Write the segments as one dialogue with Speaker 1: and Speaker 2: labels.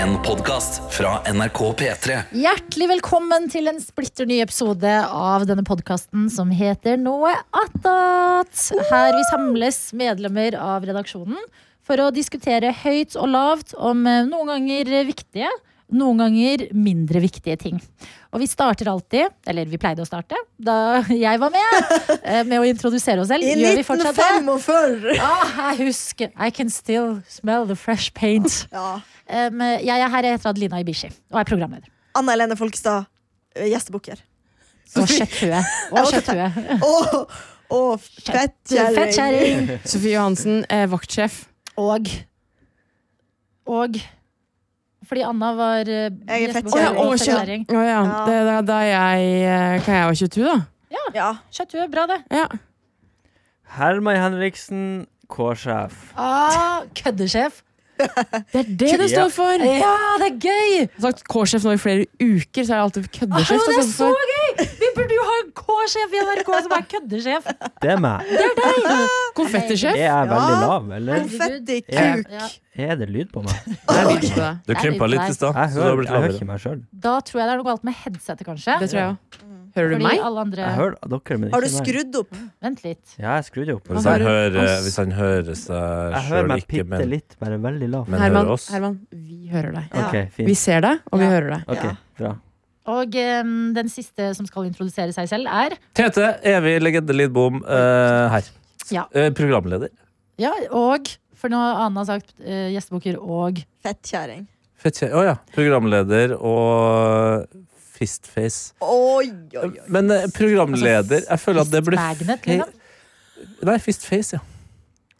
Speaker 1: En podcast fra NRK P3
Speaker 2: Hjertelig velkommen til en splitter ny episode av denne podkasten som heter Noe attåt. Her vi samles medlemmer av redaksjonen for å diskutere høyt og lavt om eh, noen ganger viktige, noen ganger mindre viktige ting. Og vi starter alltid, eller vi pleide å starte da jeg var med, eh, med å introdusere oss selv.
Speaker 3: I
Speaker 2: Gjør vi fortsatt det?
Speaker 3: 1945!
Speaker 2: Ah, jeg husker I can still smell the fresh paint.
Speaker 3: Ja.
Speaker 2: Um, jeg er her, jeg heter Adelina Ibishi og er programleder.
Speaker 3: Anna Helene Folkestad, eh, gjestebukker.
Speaker 2: Og kjøtthue.
Speaker 3: Jeg
Speaker 2: Og
Speaker 3: måtte ta-
Speaker 2: kjøtthue.
Speaker 3: Og, og fettkjerring!
Speaker 2: Fettkjerring.
Speaker 4: Sofie Johansen er vaktsjef.
Speaker 2: Og Og Fordi Anna var eh,
Speaker 3: Jeg er
Speaker 2: gjestebok- Å,
Speaker 3: fettkjerring.
Speaker 4: Å, kjø-
Speaker 2: fettkjerring.
Speaker 4: Å ja.
Speaker 3: Ja.
Speaker 4: Det er da, da jeg eh, Hva jeg var 22, da?
Speaker 3: Ja.
Speaker 2: Kjøtthue, bra det.
Speaker 4: Ja.
Speaker 5: Herman Henriksen, K-sjef.
Speaker 2: Ah, køddesjef.
Speaker 4: Det er det det
Speaker 5: Ja.
Speaker 4: står for! Jeg
Speaker 2: Ja, det er gøy!
Speaker 4: har sagt K-sjef nå i flere uker, så er det alltid
Speaker 2: Ah, det
Speaker 4: køddesjef. det
Speaker 2: er
Speaker 4: står
Speaker 2: så
Speaker 4: for.
Speaker 2: gøy! Vi burde jo ha en K-sjef i NRK som er køddesjef.
Speaker 5: Det er meg.
Speaker 4: Konfettisjef.
Speaker 5: Er jeg veldig
Speaker 3: Ja.
Speaker 5: lav, eller?
Speaker 3: Konfetti,
Speaker 5: Ja.
Speaker 3: kuk.
Speaker 2: Ja.
Speaker 5: Er det lyd på meg?
Speaker 4: Jeg er lyd på det.
Speaker 6: Du
Speaker 2: Jeg liker
Speaker 6: krympa litt
Speaker 2: deg.
Speaker 6: i stad.
Speaker 5: Jeg
Speaker 6: så du har
Speaker 5: hører,
Speaker 6: blitt
Speaker 5: jeg hører
Speaker 6: lavere.
Speaker 5: ikke meg sjøl.
Speaker 2: Da tror jeg det er noe galt med headsetet, kanskje.
Speaker 4: Det tror jeg òg. Hører du
Speaker 2: Fordi
Speaker 4: meg?
Speaker 2: alle andre
Speaker 5: Jeg hører dere, men ikke meg.
Speaker 3: Har du skrudd opp?
Speaker 2: Vent litt.
Speaker 5: Ja, jeg skrudde opp.
Speaker 6: Hvis han hører, hvis han hører seg
Speaker 5: Jeg hører
Speaker 6: sjøl
Speaker 5: meg
Speaker 6: ikke,
Speaker 5: bitte
Speaker 6: men,
Speaker 5: litt, bare veldig lav.
Speaker 6: men
Speaker 4: Herman,
Speaker 6: hører oss
Speaker 4: Herman, vi hører deg.
Speaker 3: Ja.
Speaker 5: Ok,
Speaker 4: Vi
Speaker 5: fint.
Speaker 4: ser deg, og vi
Speaker 2: Ja.
Speaker 4: hører deg.
Speaker 5: Ok,
Speaker 3: Ja.
Speaker 5: bra.
Speaker 2: Og eh, den siste som skal introdusere seg selv, er
Speaker 6: Tete, evig legende Lidbom, eh, her.
Speaker 2: Ja.
Speaker 6: Eh, programleder.
Speaker 2: Ja, og For nå har Anna sagt uh, gjestebukker og
Speaker 3: Fettkjerring.
Speaker 6: Fett, kje- Å ja. Programleder og fistface.
Speaker 3: Oi, oi, oi.
Speaker 6: Men eh, programleder Jeg føler at det blir
Speaker 2: Fistmagnet, Altså,
Speaker 6: fe-
Speaker 2: liksom.
Speaker 6: Nei, fistface, ja.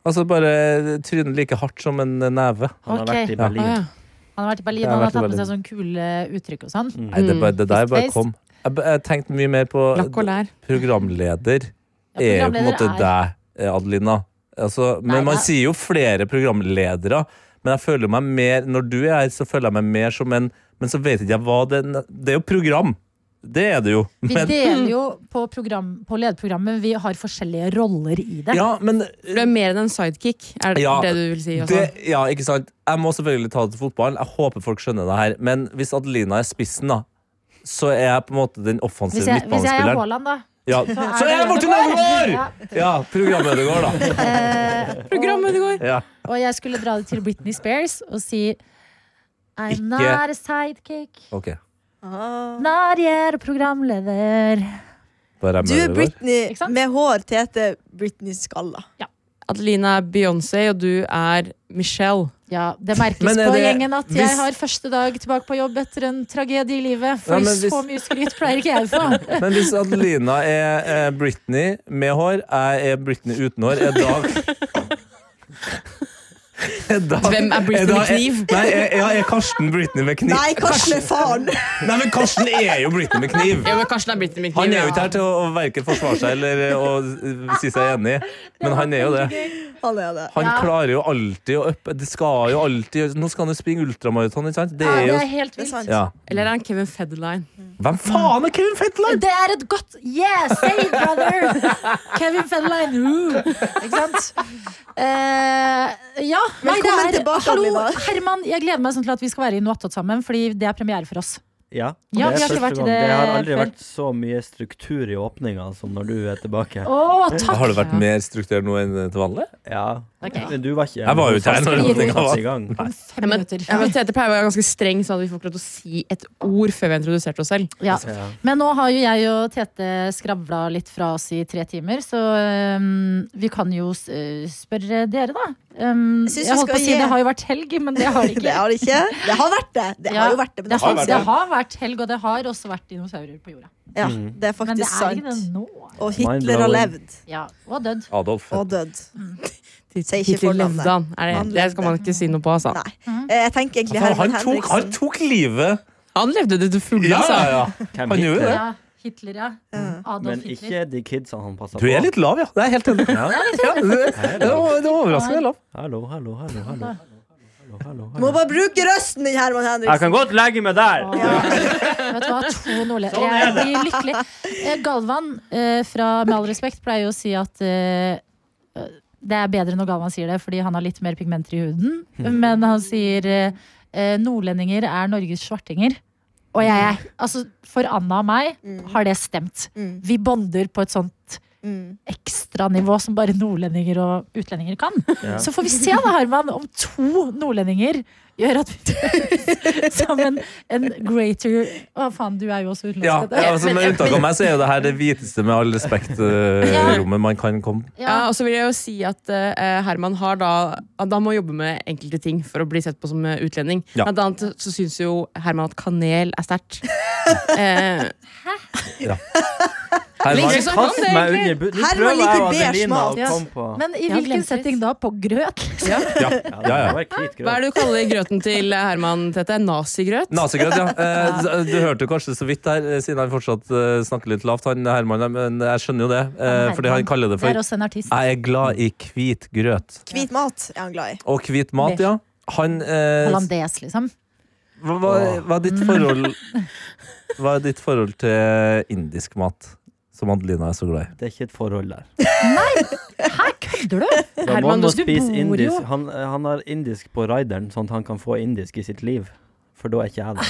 Speaker 6: Altså bare trynet like hardt som en neve.
Speaker 5: Han har
Speaker 2: Ok.
Speaker 5: vært i
Speaker 4: Å,
Speaker 5: Berlin.
Speaker 4: ja.
Speaker 2: Han har vært i Berlin
Speaker 6: Jeg
Speaker 2: og
Speaker 6: har
Speaker 2: han har
Speaker 6: vært i
Speaker 2: tatt med seg sånne
Speaker 6: Berlin.
Speaker 2: kule uttrykk og sånn.
Speaker 6: Nei, det, bare, det der bare
Speaker 2: Fistface.
Speaker 6: kom. Jeg, b- jeg tenkte mye mer på
Speaker 4: Lakk og lær.
Speaker 6: programleder.
Speaker 2: Ja,
Speaker 6: er jo på en måte
Speaker 2: programleder er-
Speaker 6: deg, eh, Adelina. Altså, men
Speaker 2: Nei,
Speaker 6: man
Speaker 2: det-
Speaker 6: sier jo flere programledere. Men jeg føler meg mer, når du er her, så føler jeg meg mer som en Men så vet ikke jeg hva det Det er jo program! Det er det jo.
Speaker 2: Vi
Speaker 6: Men,
Speaker 2: deler jo på, program, på lederprogrammet, vi har forskjellige roller i det.
Speaker 6: ja, men
Speaker 4: Du er mer enn en sidekick, er det
Speaker 6: Ja.
Speaker 4: det du vil si? Også?
Speaker 6: det,
Speaker 2: sånn.
Speaker 6: ja, ikke sant? Jeg må selvfølgelig ta det til fotballen. Jeg håper folk skjønner det her. Men hvis Adelina er spissen, da, så er jeg på en måte den offensive
Speaker 2: Hvis jeg, hvis jeg er
Speaker 6: midtbanespilleren.
Speaker 2: Haaland, da.
Speaker 6: Ja. Så er jeg Martin Ødegaard!
Speaker 2: Ja.
Speaker 6: Ja, programmet det går, da.
Speaker 2: Eh,
Speaker 4: Programmet det går!
Speaker 6: Ja.
Speaker 2: og jeg skulle dra det til Britney Spears og si I'm
Speaker 6: Ikke-
Speaker 2: not a sidekick,
Speaker 6: Ok.
Speaker 3: Ah.
Speaker 2: not yet a programleder.
Speaker 6: Bare jeg
Speaker 3: Du
Speaker 6: med
Speaker 3: er
Speaker 6: det der.
Speaker 3: Britney
Speaker 2: Ikke sant?
Speaker 3: med hår, Tete Britney Skalla.
Speaker 4: Adelina er Beyoncé, og du er Michelle.
Speaker 2: Ja, Det merkes
Speaker 6: Men er
Speaker 2: på
Speaker 6: det-
Speaker 2: gjengen at jeg
Speaker 6: hvis-
Speaker 2: har første dag tilbake på jobb etter en tragedie i livet. For
Speaker 6: Ja, men
Speaker 2: så
Speaker 6: hvis-
Speaker 2: mye skryt pleier ikke jeg å få.
Speaker 6: Men hvis Adelina er eh, Britney med hår, jeg er Britney uten hår, er da Er da-
Speaker 4: Hvem er Britney
Speaker 6: da-
Speaker 4: med kniv?
Speaker 6: Er, nei, er, ja, er Karsten Britney med kniv?
Speaker 3: Nei, Karsten er faren!
Speaker 6: Nei, men Karsten er jo Britney med kniv!
Speaker 4: Ja, men Karsten er Britney
Speaker 6: Han er jo ikke her til å å verken forsvare seg eller eh, å eh, si seg enig, men han er jo det.
Speaker 3: Han er det.
Speaker 6: Han
Speaker 2: Ja.
Speaker 6: klarer jo alltid å uppe Det skal jo alltid Nå skal han jo springe ultramaraton, ikke sant? Det
Speaker 2: Ja,
Speaker 6: er
Speaker 2: det
Speaker 6: jo
Speaker 2: er helt
Speaker 3: Det er
Speaker 2: vilt.
Speaker 3: sant.
Speaker 6: ja.
Speaker 4: Eller er han Kevin Federline?
Speaker 6: Hvem faen er Kevin Fetland?
Speaker 2: Det er et godt Yeah, say it, brother! Kevin Federline, who? Ikke sant? Eh, ja. Nei, det
Speaker 3: Velkommen
Speaker 2: er,
Speaker 3: tilbake,
Speaker 2: Hallo,
Speaker 3: Adelina.
Speaker 2: Herman. Jeg gleder meg sånn til at vi skal være i Noattot sammen, fordi det er premiere for oss.
Speaker 5: Ja,
Speaker 2: Ja,
Speaker 5: det
Speaker 2: vi
Speaker 5: er
Speaker 2: har ikke vært
Speaker 5: første
Speaker 2: i
Speaker 5: gang.
Speaker 2: det
Speaker 5: Det har aldri
Speaker 2: før.
Speaker 5: vært så mye struktur i åpninga som når du er tilbake.
Speaker 2: Å, takk!
Speaker 6: Har det vært mer strukturert nå enn til vanlig?
Speaker 5: Ja,
Speaker 2: Ok.
Speaker 5: men du var ikke
Speaker 6: Jeg var jo ikke her når
Speaker 5: Fast-
Speaker 6: åpninga var.
Speaker 5: i gang.
Speaker 2: Fem
Speaker 4: men-
Speaker 2: minutter.
Speaker 4: Ja, men Tete pleier å være ganske streng, sånn at vi får ikke lov til å si et ord før vi har introdusert oss selv.
Speaker 2: Ja.
Speaker 5: Ja.
Speaker 2: Men nå har jo jeg og Tete skravla litt fra oss i tre timer, så øhm, vi kan jo s- øh, spørre dere, da. Øhm,
Speaker 3: Jeg synes
Speaker 2: jeg
Speaker 3: vi
Speaker 2: holdt på
Speaker 3: skal
Speaker 2: å si
Speaker 3: gi-
Speaker 2: det har jo vært helg, men det har det ikke.
Speaker 3: Det har det ikke. Det har vært det. Det
Speaker 2: Ja,
Speaker 3: har jo vært det, men det har
Speaker 2: det,
Speaker 3: ikke det.
Speaker 2: har vært helg, og det har også vært dinosaurer på jorda.
Speaker 3: Ja, det er
Speaker 2: Men det
Speaker 3: faktisk
Speaker 2: er ikke det
Speaker 3: sant.
Speaker 2: nå.
Speaker 3: Og Hitler har
Speaker 5: Mind-blowing.
Speaker 3: levd.
Speaker 2: Ja, og dødd.
Speaker 6: Adolf.
Speaker 3: Og dødd. Si ikke
Speaker 4: Hitler
Speaker 3: fornavnet.
Speaker 4: levde han. Er det,
Speaker 3: Han
Speaker 4: det skal man ikke si noe på, altså.
Speaker 3: Nei. Eh, Jeg tenker egentlig
Speaker 6: Han,
Speaker 3: Herman
Speaker 6: han, tok, han
Speaker 3: Henriksen.
Speaker 6: tok livet!
Speaker 4: Han levde det til fulle, altså.
Speaker 5: Hvem
Speaker 6: Han
Speaker 5: Hitler?
Speaker 6: gjorde det.
Speaker 2: Ja, Mm. Hitler, ja. Adolf
Speaker 5: Men
Speaker 2: Hitler.
Speaker 5: ikke de kidsa han passa
Speaker 6: Du er litt lav, ja. Det er helt enig. Ja, det, det var- det var overraskende lav.
Speaker 5: Hallo, hallo, hallo, hallo. hallo, hallo,
Speaker 3: Du må
Speaker 5: hallo.
Speaker 3: bare bruke røsten din, Herman
Speaker 5: Jeg
Speaker 3: Henriksen.
Speaker 5: kan godt legge meg der!
Speaker 2: Vet du hva, 2-0. Jeg blir lykkelig. Eh, Galvan, eh, fra Med all respekt, pleier jo å si at eh,
Speaker 5: Hmm.
Speaker 2: det er bedre når Galvan sier det, fordi han har litt mer pigmenter i huden. Men han sier eh, eh, nordlendinger er Norges svartinger. Og jeg, er- altså, for Anna og meg har det stemt.
Speaker 3: Mm.
Speaker 2: Vi bonder på et sånt
Speaker 3: Mm.
Speaker 2: ekstranivå som bare nordlendinger og utlendinger kan.
Speaker 5: Ja.
Speaker 2: Så får vi se da, Herman, om to nordlendinger gjør at vi som en, en greater Å, faen, du er jo også utenlandsk.
Speaker 6: Ja,
Speaker 2: Hedda.
Speaker 6: ja, altså, Med unntak av meg så er jo det her det hviteste, med all respekt, eh,
Speaker 2: Ja.
Speaker 6: rommet man kan komme.
Speaker 4: Ja, og så vil jeg jo si at eh, Herman har da, at han må jobbe med enkelte ting for å bli sett på som eh, utlending.
Speaker 6: Ja.
Speaker 4: Blant annet så syns jo Herman at kanel er sterkt. Eh,
Speaker 6: Herman,
Speaker 4: Liksom-
Speaker 5: Kast
Speaker 4: Sånn,
Speaker 5: meg
Speaker 4: egentlig.
Speaker 5: under bu- Du
Speaker 3: Her var
Speaker 5: prøver
Speaker 3: litt
Speaker 5: jeg og
Speaker 3: beige
Speaker 5: Adelina
Speaker 3: mat.
Speaker 5: å komme på
Speaker 2: Men i
Speaker 4: Ja,
Speaker 2: hvilken
Speaker 4: glemte
Speaker 2: setting da? På grøt? liksom?
Speaker 6: ja,
Speaker 5: Ja,
Speaker 6: ja, ja.
Speaker 5: det var hvit grøt.
Speaker 4: hva er det du kaller grøten til eh, Herman, Tete? Nazigrøt?
Speaker 6: Nazigrøt, ja. Eh, d- Du hørte jo kanskje så vidt her, eh, siden han fortsatt eh, snakker litt lavt, han Herman. Men jeg skjønner jo det, eh, fordi han kaller det
Speaker 2: Det er
Speaker 6: for
Speaker 2: også en artist.
Speaker 6: Jeg er glad i hvit grøt.
Speaker 3: Hvit mat er han glad i.
Speaker 6: Og hvit mat, ja. Han eh,
Speaker 2: Hollandes, liksom.
Speaker 6: hva, hva- hva er ditt forhold Hva er ditt forhold til indisk mat, som Adelina er så glad i?
Speaker 5: Det er ikke et forhold der.
Speaker 2: Hæ, kødder du?
Speaker 5: Da må
Speaker 4: Herman,
Speaker 5: man
Speaker 4: du bor
Speaker 5: spise
Speaker 4: jo-
Speaker 5: indisk. Han, han har indisk på rideren, sånn at han kan få indisk i sitt liv. For da er ikke jeg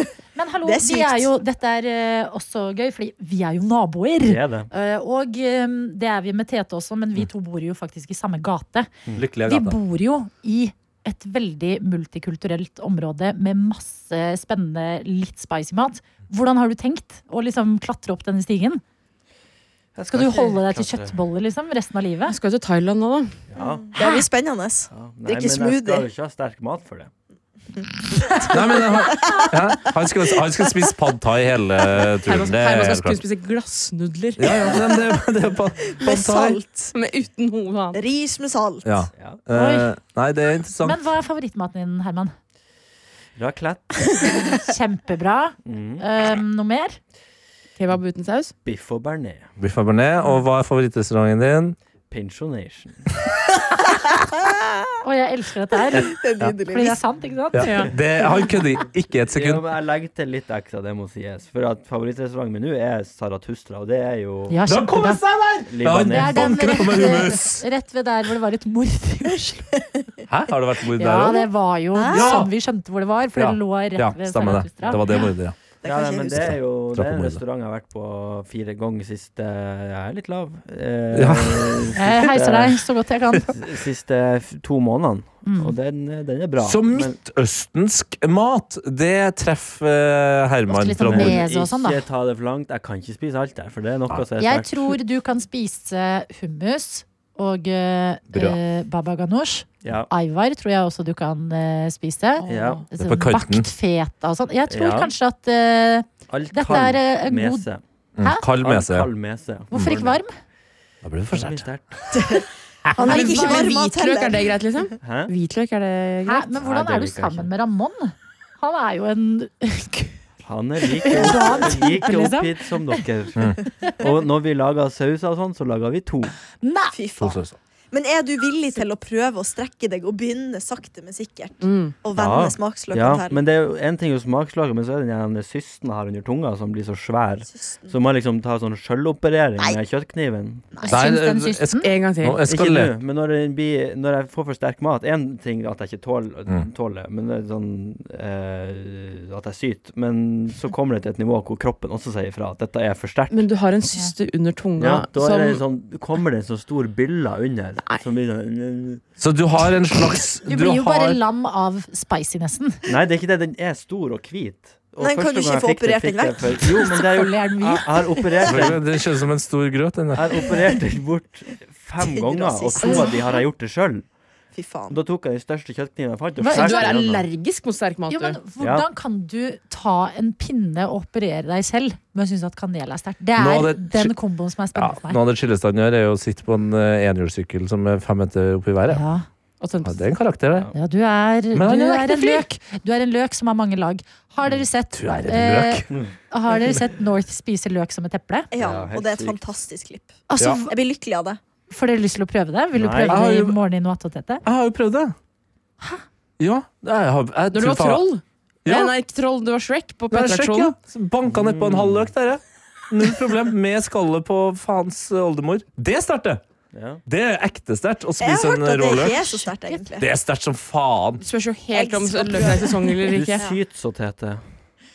Speaker 5: der.
Speaker 2: Men hallo,
Speaker 3: Det er
Speaker 2: vi
Speaker 3: sykt.
Speaker 2: er jo, dette er eh, også gøy, fordi vi er jo naboer.
Speaker 5: Det er det.
Speaker 2: Eh, og eh, det er vi med Tete også, men vi to bor jo faktisk i samme gate.
Speaker 6: Mm. Lykkelig er
Speaker 2: Vi
Speaker 6: gata.
Speaker 2: bor jo i et veldig multikulturelt område med masse spennende, litt spicy mat. Hvordan har du tenkt å liksom klatre opp denne stigen? Skal du holde deg til kjøttboller liksom, resten av
Speaker 4: Jeg
Speaker 2: livet?
Speaker 4: skal jo til Thailand nå, da.
Speaker 5: Ja.
Speaker 3: Det blir spennende.
Speaker 5: Ja, nei,
Speaker 3: Drikke
Speaker 5: Men jeg skal
Speaker 3: smoothie.
Speaker 5: jo ikke ha sterk mat for det.
Speaker 6: Nei, men han, ja, han, skal, han skal spise pad thai hele turen.
Speaker 4: Herman,
Speaker 6: Det er
Speaker 4: Herman skal
Speaker 6: helt
Speaker 4: kun
Speaker 6: klart.
Speaker 4: spise glassnudler.
Speaker 6: Ja, ja, men det, det er pad,
Speaker 3: Med
Speaker 6: pad thai.
Speaker 3: salt.
Speaker 4: Men uten noe annet.
Speaker 3: Ris med salt.
Speaker 6: Ja.
Speaker 5: Ja.
Speaker 6: Eh, nei, det er interessant.
Speaker 2: Men hva er favorittmaten din, Herman?
Speaker 5: Raclette,
Speaker 2: Kjempebra.
Speaker 5: mm.
Speaker 2: Eh, noe mer?
Speaker 4: Kebab uten saus.
Speaker 5: biff og bearnés.
Speaker 6: Biff og bearnés. Og hva er favorittrestauranten din?
Speaker 5: Pensjonation.
Speaker 2: Å, jeg elsker dette her.
Speaker 3: Det er
Speaker 2: Fordi det
Speaker 3: nydelig.
Speaker 2: er sant, ikke sant?
Speaker 6: Ja. Det, han kødder ikke et
Speaker 5: Ja,
Speaker 6: sekund.
Speaker 5: men jeg legger til litt ekstra, det må sies. For at favorittrestauranten min nå er Saratustra, og det er jo
Speaker 2: Ja,
Speaker 6: Da kommer
Speaker 2: kjempebra. Det er
Speaker 5: Libanes.
Speaker 2: den
Speaker 6: Banker opp med
Speaker 2: rett,
Speaker 6: hummus.
Speaker 2: rett ved der hvor det var et mord i Oslo.
Speaker 6: Hæ? Har det vært mord der
Speaker 2: Ja,
Speaker 6: òg?
Speaker 2: det var jo
Speaker 6: Ja.
Speaker 2: sånn vi skjønte hvor det var, for
Speaker 6: Ja.
Speaker 2: det lå rett
Speaker 6: Ja,
Speaker 2: ved
Speaker 6: stemmer det.
Speaker 2: Saratustra.
Speaker 6: Det var det mordet, ja.
Speaker 3: Det
Speaker 5: Ja,
Speaker 3: kan
Speaker 5: nei,
Speaker 3: ikke jeg
Speaker 5: men det
Speaker 3: huske.
Speaker 5: er jo det er en
Speaker 6: Trappeområdet.
Speaker 5: restaurant jeg har vært på fire ganger siste Jeg er litt lav. Eh,
Speaker 6: Ja.
Speaker 2: Jeg Eh, heiser deg Mm. så godt jeg kan.
Speaker 5: siste- Siste f- to månedene. Og den, den er bra.
Speaker 6: Så
Speaker 5: men
Speaker 6: midtøstensk mat, det treffer eh,
Speaker 2: Ofte
Speaker 6: Herman
Speaker 2: litt
Speaker 6: fra
Speaker 2: sånn
Speaker 6: mor.
Speaker 2: med- Meso og sånn, da.
Speaker 5: ikke ta det for langt. Jeg kan ikke spise alt der, for det er noe som er
Speaker 2: Jeg
Speaker 5: sterkt.
Speaker 2: tror du kan spise hummus og eh,
Speaker 6: Bra.
Speaker 2: eh, baba ganoush.
Speaker 5: Ja.
Speaker 2: Aivar tror jeg også du kan eh, spise.
Speaker 5: Ja.
Speaker 6: er på
Speaker 2: Sånn
Speaker 6: kanten.
Speaker 2: Bakt feta og sånn. Jeg tror
Speaker 5: Ja.
Speaker 2: kanskje at eh,
Speaker 5: Alt
Speaker 2: dette er
Speaker 5: kald
Speaker 2: eh, en god
Speaker 5: mese.
Speaker 6: Mm,
Speaker 2: Hæ?
Speaker 6: Kald
Speaker 5: Alt
Speaker 6: med seg.
Speaker 5: Kald mese.
Speaker 2: Hvorfor ikke varm?
Speaker 6: Da blir det for
Speaker 5: Det blir
Speaker 6: sterkt.
Speaker 5: sterkt.
Speaker 3: Han
Speaker 4: Men
Speaker 3: liker ikke
Speaker 4: hva-
Speaker 3: varm mat
Speaker 4: Hvitløk, er
Speaker 3: heller.
Speaker 4: det greit, liksom?
Speaker 5: Hæ?
Speaker 4: Hvitløk, er det
Speaker 2: Hæ?
Speaker 4: greit?
Speaker 2: Men
Speaker 5: Nei,
Speaker 2: hvordan
Speaker 5: det
Speaker 2: er du
Speaker 5: liker jeg ikke.
Speaker 2: sammen med Ramón? Han er jo en
Speaker 5: Han er like, opp, like oppgitt
Speaker 2: liksom.
Speaker 5: som dere.
Speaker 6: Mm.
Speaker 5: Og når vi lager sauser og sånn, så lager vi to.
Speaker 2: Nei!
Speaker 3: Fy
Speaker 6: To
Speaker 3: faen.
Speaker 6: sauser.
Speaker 3: Men er du villig til å prøve å strekke deg og begynne sakte, men sikkert?
Speaker 4: Mm.
Speaker 3: Og vende
Speaker 5: Ja.
Speaker 3: smaksløkene
Speaker 5: Ja,
Speaker 3: til?
Speaker 5: men det er jo en ting jo smakslaget, men så er det den her systen jeg har under tunga som blir så svær.
Speaker 3: Systen.
Speaker 5: Så må jeg liksom ta sånn sjøloperering
Speaker 3: Nei.
Speaker 5: med kjøttkniven.
Speaker 6: Der,
Speaker 2: Syns den
Speaker 6: eh,
Speaker 2: systen?
Speaker 4: En gang
Speaker 6: Nå
Speaker 4: til.
Speaker 5: Ikke nå,
Speaker 6: eskalerer
Speaker 5: men når, den blir, når jeg får for sterk mat Én ting at jeg ikke tåler,
Speaker 6: Mm.
Speaker 5: tåler men det er sånn eh, at jeg syter. Men så kommer det til et nivå hvor kroppen også sier ifra at dette er for sterkt.
Speaker 4: Men du har en syster under tunga
Speaker 5: Ja, da er
Speaker 4: som
Speaker 5: det
Speaker 6: eh,
Speaker 5: sånn, kommer det en sånn stor bylle under.
Speaker 4: Nei.
Speaker 5: Som blir sånn,
Speaker 6: Så du har en slags
Speaker 2: Du blir jo bare
Speaker 6: har-
Speaker 2: lam av spicinessen.
Speaker 5: nei, det er ikke det. Den er stor og hvit. Og
Speaker 3: Nei, kan
Speaker 5: første
Speaker 3: du ikke
Speaker 5: gang jeg
Speaker 3: få
Speaker 5: fikk det,
Speaker 3: operert
Speaker 5: fikk
Speaker 3: den
Speaker 5: jeg for- Jo, men det er jo
Speaker 2: Selvfølgelig er den hvit.
Speaker 5: Jeg har operert den
Speaker 6: Det kjennes som en stor grøt. Den der.
Speaker 5: Jeg har operert den bort fem
Speaker 3: Til
Speaker 5: ganger, og
Speaker 3: rasist.
Speaker 5: to av de har jeg gjort det sjøl.
Speaker 3: Fy faen.
Speaker 5: Da tok jeg den største kjøttkniven jeg fant. og
Speaker 2: Hva,
Speaker 5: skar
Speaker 4: Du er
Speaker 5: den gjennom.
Speaker 4: allergisk mot sterk mat,
Speaker 2: Jo, men
Speaker 4: du.
Speaker 5: Ja.
Speaker 2: hvordan kan du ta en pinne og operere deg selv med å synes at kanel er sterkt? Det
Speaker 6: Nå
Speaker 2: er
Speaker 6: er det-
Speaker 2: den komboen som er
Speaker 6: Ja,
Speaker 2: spennende for
Speaker 6: noe
Speaker 2: meg.
Speaker 6: av det chilleste han gjør, er jo å sitte på en eh, enhjulssykkel som er fem meter opp i været.
Speaker 2: Ja,
Speaker 4: Og tømt.
Speaker 6: Ja, det er en karakter, det.
Speaker 2: ja du, er, du
Speaker 6: Men han er en
Speaker 2: er
Speaker 6: ekte
Speaker 2: en
Speaker 6: fyr. Mm.
Speaker 2: løk. Du er en løk som har mange lag. Har dere sett,
Speaker 6: Du er en
Speaker 2: eh,
Speaker 6: løk.
Speaker 2: har dere sett North spise løk som et eple?
Speaker 3: Ja,
Speaker 5: Ja, helt
Speaker 3: og det er et
Speaker 5: sykt.
Speaker 3: fantastisk klipp.
Speaker 2: Altså,
Speaker 6: Ja.
Speaker 3: Jeg blir lykkelig av det.
Speaker 2: Får dere lyst til å prøve det? Vil du
Speaker 5: Nei.
Speaker 2: prøve
Speaker 6: Jeg har
Speaker 2: det i
Speaker 6: jo-
Speaker 2: morgen i noe attåt dette?
Speaker 6: Jeg har jo prøvd det. Ja. Jeg har, jeg
Speaker 4: Når du
Speaker 6: tror
Speaker 4: var
Speaker 6: faen-
Speaker 4: troll?
Speaker 6: Ja.
Speaker 4: Nei, Nei, ikke troll, du var Shrek på
Speaker 6: Nei, sjekk, ja.
Speaker 4: Petter-aksjonen.
Speaker 6: Så Banka ned på en halv løk der, jeg. Null problem. Med skallet på faens oldemor. Det starter!
Speaker 5: Ja.
Speaker 6: Det er ekte sterkt å
Speaker 3: Jeg har
Speaker 6: spise en
Speaker 3: hørt at
Speaker 6: rå
Speaker 3: det ikke
Speaker 6: løk.
Speaker 3: er så sterkt, egentlig.
Speaker 6: Det er sterkt som faen.
Speaker 4: Det spørs jo helt om
Speaker 3: Egg-
Speaker 4: løken er i sesong eller
Speaker 5: Du
Speaker 4: ikke.
Speaker 5: syter så, Tete.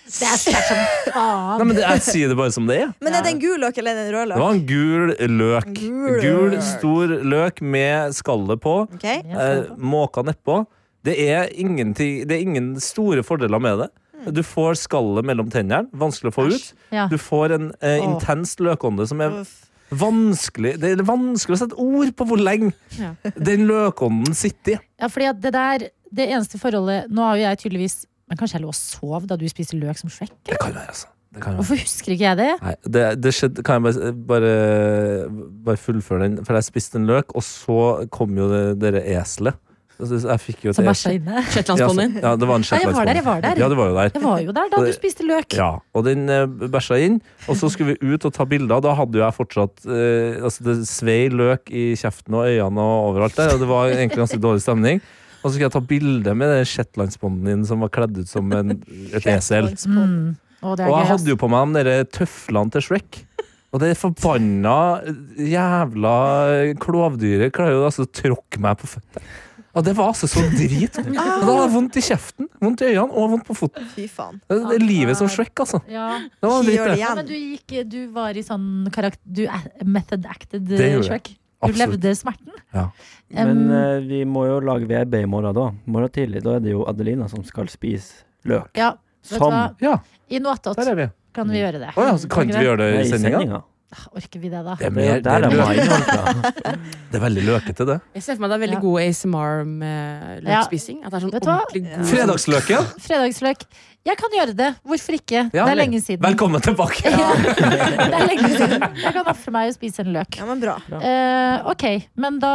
Speaker 2: Det er sterkt som faen.
Speaker 6: Nei, men det, Jeg sier det bare som det er.
Speaker 3: Men er det en gul løk eller en rød
Speaker 6: Det var
Speaker 3: løk?
Speaker 6: en gul løk.
Speaker 3: Gul
Speaker 6: Gul,
Speaker 3: løk.
Speaker 6: stor løk med skallet på.
Speaker 3: Ok.
Speaker 6: Eh, Måka nedpå. Det er, ingenting- det er ingen store fordeler med det. Du får skallet mellom tennene. Vanskelig å få ut.
Speaker 2: Ja.
Speaker 6: Du får en eh,
Speaker 2: Åh.
Speaker 6: intens løkånde som er
Speaker 3: Uff.
Speaker 6: vanskelig Det er vanskelig å sette ord på hvor lenge
Speaker 4: Ja.
Speaker 6: den løkånden sitter i.
Speaker 2: Ja, fordi at det der, det eneste forholdet Nå har jo jeg tydeligvis Men kanskje jeg lå og sov da du spiste løk som Shrek?
Speaker 6: Det kan være, altså. Det kan være.
Speaker 2: Hvorfor husker ikke jeg det?
Speaker 6: Nei, det, det skjedde Kan jeg bare, bare, bare fullføre den? For jeg spiste en løk, og så kom jo det dere eselet. Altså, Jeg fikk jo et
Speaker 2: Som
Speaker 6: esel.
Speaker 2: bæsja inne?
Speaker 6: Ja,
Speaker 4: Shetlandsponnien.
Speaker 6: så- ja, det var en
Speaker 2: Nei, jeg var der, jeg var der.
Speaker 6: Ja, det var jo der.
Speaker 2: Jeg var jo der da du spiste løk.
Speaker 6: Ja, og den eh, bæsja inn, og så skulle vi ut og ta bilder. Da hadde jo jeg fortsatt eh, altså Det svei løk i kjeften og øynene og overalt der, og det var egentlig ganske dårlig stemning. Og så skulle jeg ta bilde med den shetlandsbonden din som var kledd ut som en, et esel.
Speaker 2: Mm. Å, det er
Speaker 6: Og jeg
Speaker 2: gøy, ass.
Speaker 6: hadde jo på meg de der tøflene til Shrek. Og det forbanna jævla klovdyret klarer jo altså å tråkke meg på føttene. Og det var altså så drit. Og da hadde jeg vondt i kjeften, vondt i øynene og vondt på foten.
Speaker 3: Fy faen.
Speaker 6: Det, det er livet som Shrek, altså.
Speaker 2: ja.
Speaker 6: Det var
Speaker 3: Ti
Speaker 6: drit,
Speaker 3: år
Speaker 6: det.
Speaker 2: ja,
Speaker 3: igjen.
Speaker 2: men du gikk Du var i sånn karakter Du er method acted eh,
Speaker 6: Det gjorde jeg.
Speaker 2: Shrek. Du
Speaker 6: Absolutt.
Speaker 2: levde smerten.
Speaker 5: Men
Speaker 2: Um,
Speaker 5: eh, vi må jo lage VB i morgen, da. I morgen tidlig. Da er det jo Adelina som skal spise løk.
Speaker 2: Ja. Vet du
Speaker 5: Som
Speaker 2: hva?
Speaker 6: Ja,
Speaker 2: I noe attåt
Speaker 6: der er vi.
Speaker 2: kan vi gjøre det. Ah,
Speaker 6: Å ja, så kan ikke vi gjøre det
Speaker 5: Nei,
Speaker 6: i sendinga?
Speaker 2: Orker vi det, da?
Speaker 6: Det er,
Speaker 5: Det er
Speaker 6: mer,
Speaker 5: jo
Speaker 6: det,
Speaker 5: der
Speaker 6: er
Speaker 5: de
Speaker 6: løk.
Speaker 5: har innhold fra.
Speaker 6: det er veldig løkete, det.
Speaker 4: Jeg ser for meg det er veldig
Speaker 2: Ja.
Speaker 4: god ASMR med
Speaker 2: Ja.
Speaker 4: løkspising. At det er sånn
Speaker 2: Vet du hva?
Speaker 4: ordentlig
Speaker 3: Ja.
Speaker 4: god
Speaker 6: Fredagsløken!
Speaker 2: Fredagsløk. Jeg kan gjøre det. Hvorfor ikke?
Speaker 6: Ja,
Speaker 2: det
Speaker 6: eller-
Speaker 2: er lenge siden.
Speaker 6: Velkommen tilbake!
Speaker 2: Ja. det er lenge siden. Jeg kan ofre meg å spise en løk.
Speaker 3: Ja, men bra.
Speaker 2: Eh, ok, men da,